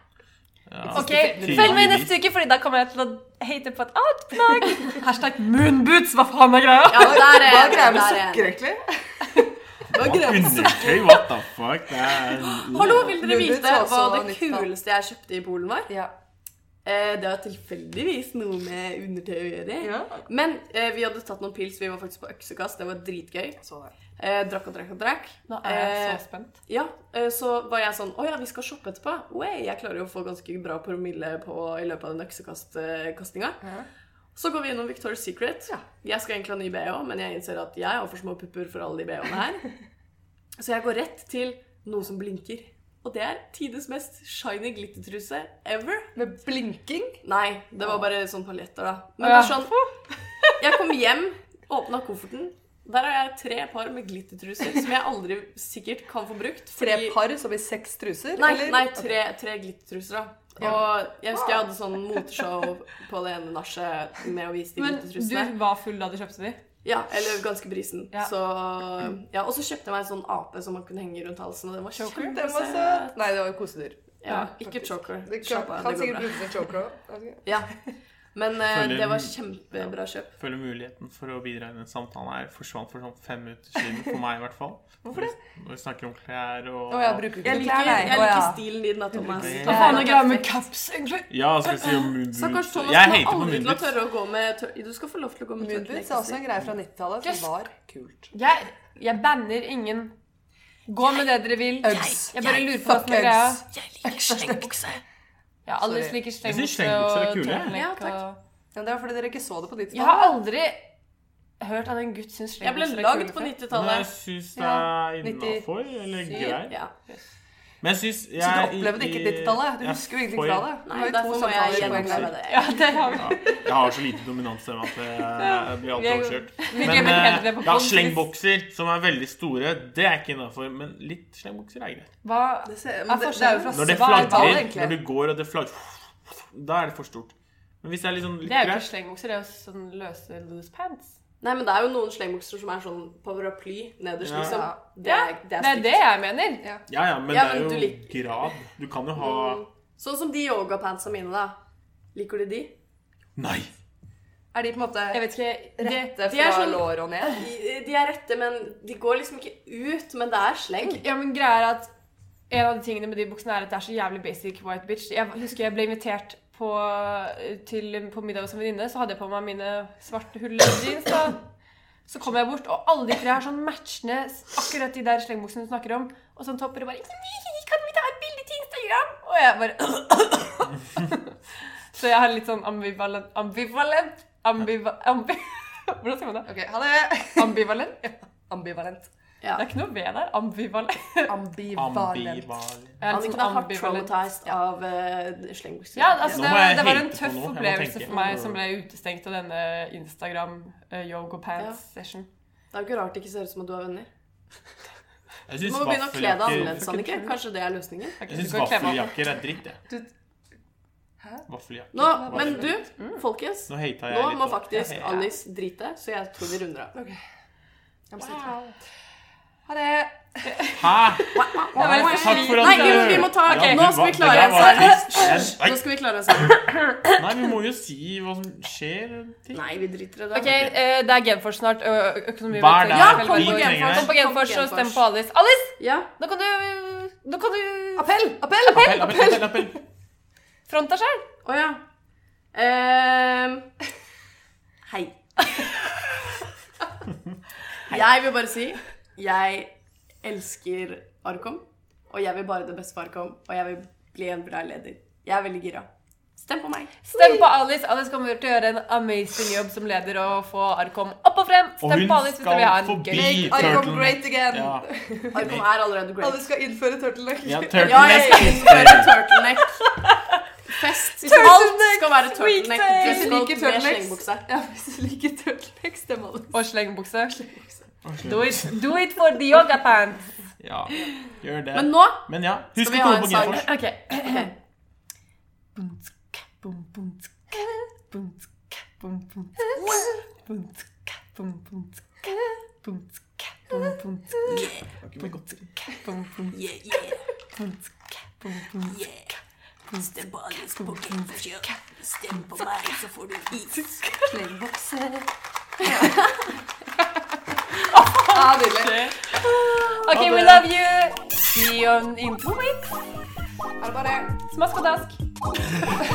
Speaker 1: Ja.
Speaker 3: Ok,
Speaker 1: Fint.
Speaker 3: Følg med neste uke, Fordi da kommer jeg til å hate på et annet plagg. *laughs* Hashtag moonboots. Hva faen er greia?
Speaker 2: Ja, men der er
Speaker 4: Hva er greia med
Speaker 2: der er-
Speaker 4: sokker, egentlig?
Speaker 1: Undertøy, what the fuck? Det er
Speaker 2: Hallo, vil dere
Speaker 4: Nudes
Speaker 2: vite
Speaker 4: også
Speaker 2: hva det
Speaker 4: 90-tall.
Speaker 2: kuleste jeg kjøpte i Polen var?
Speaker 4: Ja.
Speaker 2: Eh, Det har tilfeldigvis noe med undertøy å gjøre. Men eh, vi hadde tatt noen pils, vi var faktisk på øksekast, det var dritgøy. Eh, drakk og drakk og drakk.
Speaker 3: Nå er jeg
Speaker 2: Eh,
Speaker 3: så spent.
Speaker 2: Ja, eh, Så var jeg sånn Å ja, vi skal shoppe etterpå. Oi, jeg klarer jo å få ganske bra promille på, i løpet av den øksekastkastinga. Så går vi innom Victoria's Secret. Jeg skal egentlig ha ny BH, men jeg innser at jeg har for små pupper for alle de BH-ene
Speaker 3: *laughs*
Speaker 2: her. Så jeg går rett til noe som blinker. Og det er tidenes mest shiny glittertruse ever.
Speaker 4: Med blinking?
Speaker 2: Nei, det var bare sånn paljetter, da. Men
Speaker 3: Ja.
Speaker 2: det er sånn *laughs* Jeg kom hjem, åpna kofferten. Der har jeg tre par med glittertruser som jeg aldri sikkert kan få brukt.
Speaker 4: Tre
Speaker 2: fordi-
Speaker 4: par som i seks truser?
Speaker 2: Nei,
Speaker 4: eller?
Speaker 2: nei tre, tre glittertruser, da. Og jeg husker jeg hadde sånn moteshow på det ene nachet med å vise de
Speaker 3: Men du
Speaker 2: glittertrusene.
Speaker 3: var full da du kjøpte de?
Speaker 2: Ja, eller ganske brisen.
Speaker 3: Ja.
Speaker 2: Så, ja, og så kjøpte jeg meg en sånn ape som man kunne henge rundt halsen, og den var
Speaker 3: Choker?
Speaker 2: kjempesøt.
Speaker 4: Den var søt. Nei, det var jo kosedyr.
Speaker 2: Ja,
Speaker 3: Ja,
Speaker 2: ikke choker.
Speaker 4: Det kan,
Speaker 2: Slapp av, det
Speaker 4: kan
Speaker 2: går
Speaker 4: sikkert
Speaker 2: bra.
Speaker 4: brukes en choker òg.
Speaker 2: Ja. Men eh,
Speaker 1: Føler-
Speaker 2: det var kjempebra kjøp.
Speaker 1: Føler muligheten for å bidra i den samtalen her forsvant for sånn fem minutter siden. For meg, i hvert fall. Hvorfor det? Når vi snakker om klær og
Speaker 4: Å, jeg bruker ikke
Speaker 2: Jeg liker,
Speaker 4: klær, nei.
Speaker 2: jeg
Speaker 4: Å,
Speaker 2: liker
Speaker 4: ja.
Speaker 2: stilen din da, Thomas.
Speaker 1: Nei.
Speaker 3: Hva faen er greia med caps, egentlig?
Speaker 1: Ja, skal vi si om moon
Speaker 2: Stakkars
Speaker 1: boots.
Speaker 2: Thomas
Speaker 1: Jeg
Speaker 2: kommer
Speaker 1: hater på
Speaker 2: aldri
Speaker 1: moon
Speaker 2: til å
Speaker 1: boots.
Speaker 2: tørre å gå med tør... Du skal få lov til å gå med
Speaker 4: Moonboots er også
Speaker 2: tørrklær.
Speaker 4: altså, en greie fra 90-tallet. Det
Speaker 3: Yes.
Speaker 4: var kult.
Speaker 3: Jeg, jeg banner ingen. Gå med det dere vil.
Speaker 4: Uggs.
Speaker 3: Jeg bare lurer på hva
Speaker 4: Fuck
Speaker 3: som er greia.
Speaker 4: Uggs.
Speaker 5: Jeg liker slengbukse.
Speaker 3: Ja, alle
Speaker 4: Sorry.
Speaker 3: liker
Speaker 1: Jeg synes
Speaker 3: slengbukse
Speaker 1: slengbukser er
Speaker 3: og
Speaker 1: kule.
Speaker 2: Ja,
Speaker 3: turtleneck.
Speaker 2: takk.
Speaker 3: og-
Speaker 4: Ja, det var fordi dere ikke så det på ditt
Speaker 3: Jeg har aldri hørt at en gutt syns
Speaker 2: Jeg ble
Speaker 3: slengbukser er
Speaker 2: lagd
Speaker 3: kule
Speaker 2: på
Speaker 3: før.
Speaker 1: Men jeg
Speaker 2: 90-tallet.
Speaker 1: syns det
Speaker 4: Ja,
Speaker 1: er innafor, eller
Speaker 4: 97.
Speaker 1: greit.
Speaker 2: Ja.
Speaker 1: Men jeg syns
Speaker 4: Så du opplevde ikke 90-tallet? Du
Speaker 1: jeg
Speaker 4: husker jo egentlig
Speaker 1: får-
Speaker 4: ikke fra det. Det
Speaker 2: Nei,
Speaker 4: var jo to
Speaker 2: derfor må jeg
Speaker 4: samtaler på en kveld.
Speaker 2: gjennomføre det.
Speaker 3: Ja, det har vi.
Speaker 1: Ja, jeg har så lite dominansstemme at jeg, jeg blir alltid
Speaker 3: Jeg-
Speaker 1: overkjørt.
Speaker 3: vi
Speaker 1: Men
Speaker 3: glemmer helt
Speaker 1: eh,
Speaker 3: det på
Speaker 1: ja,
Speaker 3: podden.
Speaker 1: slengbokser som er veldig store, det er ikke innafor. Men litt slengbokser er greit.
Speaker 3: Hva
Speaker 4: Det,
Speaker 3: Hva
Speaker 4: ser, men
Speaker 3: er
Speaker 4: det, det er jo fra
Speaker 3: forskjellen?
Speaker 1: Når det
Speaker 4: svar- ball,
Speaker 1: flagrer,
Speaker 4: egentlig.
Speaker 1: når du går og det flagrer Da er det for stort. Men hvis det er litt sånn litt
Speaker 3: Det er jo ikke
Speaker 1: greit
Speaker 3: slengbukser, det er jo sånn løse loose pants.
Speaker 2: Nei, men det er jo noen slengbukser som er sånn paraply nederst,
Speaker 1: Ja.
Speaker 2: liksom. Det
Speaker 3: Ja,
Speaker 2: er, det
Speaker 3: Det
Speaker 2: er
Speaker 3: er
Speaker 2: stygt.
Speaker 3: det jeg mener.
Speaker 4: Ja.
Speaker 1: Ja, ja, men
Speaker 2: Ja,
Speaker 1: det er
Speaker 2: men
Speaker 1: jo
Speaker 2: du lik-
Speaker 1: grad. Du kan jo ha
Speaker 2: Sånn som de yogapantsa mine, da. Liker du de?
Speaker 1: Nei!
Speaker 4: Er de på en måte
Speaker 3: Jeg vet ikke det,
Speaker 4: rette
Speaker 2: de er
Speaker 4: fra
Speaker 2: sånn-
Speaker 4: lår og ned?
Speaker 2: De de er rette, men de går liksom ikke ut. Men det er sleng.
Speaker 3: Ja, men greia er at En av de tingene med de buksene er at det er så jævlig basic white bitch. Jeg husker jeg ble invitert på, til, på middag hos en venninne, så hadde jeg på meg mine svarte hulljeans. da. Så kom jeg bort, og alle de tre har sånn matchende akkurat de der slengbuksene du snakker om. Og sånn topper og bare Kan vi ta et bilde til Instagram? Og jeg bare *coughs* Så jeg har litt sånn ambivalent Ambivalent? Ambiva, ambi, *laughs* hvordan sier man det?
Speaker 4: Ok, ha det!
Speaker 3: Ambivalent? Det
Speaker 4: *laughs* Ambivalent.
Speaker 2: Ja.
Speaker 3: er ikke noe ved der. Ambivalent.
Speaker 4: Ambivalent.
Speaker 1: Ambivalent.
Speaker 3: Jeg er litt
Speaker 2: Anniken
Speaker 3: sånn
Speaker 2: er hardt
Speaker 3: ambivalent.
Speaker 2: traumatized av eh, slengbukser.
Speaker 3: Ja, altså,
Speaker 1: Nå
Speaker 3: det,
Speaker 1: må jeg
Speaker 3: det var
Speaker 1: tenke
Speaker 3: en
Speaker 1: på
Speaker 3: tøff
Speaker 1: noe. Jeg må
Speaker 3: opplevelse
Speaker 1: tenke.
Speaker 3: for meg som ble utestengt av denne eh, Instagram-yoga-pants-session.
Speaker 2: Det er jo ikke rart det ikke ser ut som at du har venner.
Speaker 1: Jeg
Speaker 2: Du
Speaker 1: syns
Speaker 2: må begynne å kle deg
Speaker 1: vaffeljakker,
Speaker 2: annerledes, Annike. Kanskje det er løsningen.
Speaker 1: jeg synes vaffeljakker er dritt, jeg.
Speaker 4: Hæ?
Speaker 1: Vaffeljakker.
Speaker 2: Nå,
Speaker 1: Hva
Speaker 2: men
Speaker 1: er
Speaker 2: du,
Speaker 1: det?
Speaker 2: folkens.
Speaker 1: Nå hata jeg
Speaker 2: Mm. Nå
Speaker 1: litt
Speaker 2: må
Speaker 1: også.
Speaker 2: faktisk
Speaker 1: Jeg-
Speaker 2: Alice drite, så jeg tror vi runder av.
Speaker 4: Jeg må si det. Ha det!
Speaker 1: Hæ? Takk for at
Speaker 2: Nei, vi må- vi må ta- ok,
Speaker 1: du
Speaker 2: nå skal
Speaker 1: var-
Speaker 2: vi klare
Speaker 1: det der var
Speaker 2: en
Speaker 1: trist. Jeg-
Speaker 2: Nå skal vi klare oss sammen.
Speaker 1: Nei, vi må jo si hva som skjer. Ting.
Speaker 2: Nei, vi driter i det.
Speaker 3: Ok, eh, det er Genfors snart. ø- ø- økonomi
Speaker 1: Vær der.
Speaker 2: Ja,
Speaker 1: Vi
Speaker 2: kom på
Speaker 1: trenger deg.
Speaker 2: Genfors.
Speaker 3: Kom på Genfors og stem på Alice. Alice!
Speaker 2: Ja.
Speaker 3: Nå kan du Nå kan du
Speaker 4: Appell! Appell!
Speaker 1: Appell, appell, appell, appell.
Speaker 3: fronte deg sjøl.
Speaker 2: Å ja. Ehm, hei. Jeg vil bare si jeg elsker Arkom, og jeg vil bare det beste for Arkom, og jeg vil bli en bra leder. Jeg er veldig gira. Stem på meg.
Speaker 3: Stem på Alice. Alice kommer til å gjøre en amazing jobb som leder og få Arkom opp og frem.
Speaker 1: Og
Speaker 3: Stem
Speaker 1: hun
Speaker 3: på Alice hvis du
Speaker 1: skal
Speaker 3: vil ha en
Speaker 1: forbi
Speaker 3: gøy
Speaker 4: I come
Speaker 1: turtleneck.
Speaker 4: great
Speaker 2: *laughs*
Speaker 4: again!
Speaker 1: Ja,
Speaker 2: Arkom er allerede
Speaker 4: Alle
Speaker 2: great.
Speaker 4: skal innføre turtleneck.
Speaker 1: ja
Speaker 2: Ja, jeg
Speaker 1: turtleneck is
Speaker 2: innfører
Speaker 1: great.
Speaker 2: turtleneck. Fest. Alt
Speaker 3: Turtleneck,
Speaker 2: skal være turtleneck.
Speaker 3: sweet
Speaker 2: Dress
Speaker 4: day.
Speaker 2: code
Speaker 4: Liker
Speaker 2: med
Speaker 4: turtlenecks.
Speaker 2: slengbukse.
Speaker 4: Ja, hvis du liker turtleneck, stem alle.
Speaker 3: og slengbukse.
Speaker 1: Ok.
Speaker 3: Do it, do it for the yoga pants.
Speaker 1: Ja, gjør det.
Speaker 2: Men nå
Speaker 1: Men ja,
Speaker 2: Skal
Speaker 1: husk
Speaker 2: vi
Speaker 1: å
Speaker 2: ha
Speaker 1: komme
Speaker 2: en
Speaker 1: på
Speaker 2: sang?
Speaker 1: Genfors.
Speaker 3: Ok.
Speaker 5: Yeah, yeah. Yeah. Stem på Alice på Genfors. ja. Stem på meg, så får du is.
Speaker 4: Ja, nydelig.
Speaker 3: Ok, we love you. See you on- in two weeks.
Speaker 4: Er det bare
Speaker 3: Smask og dask.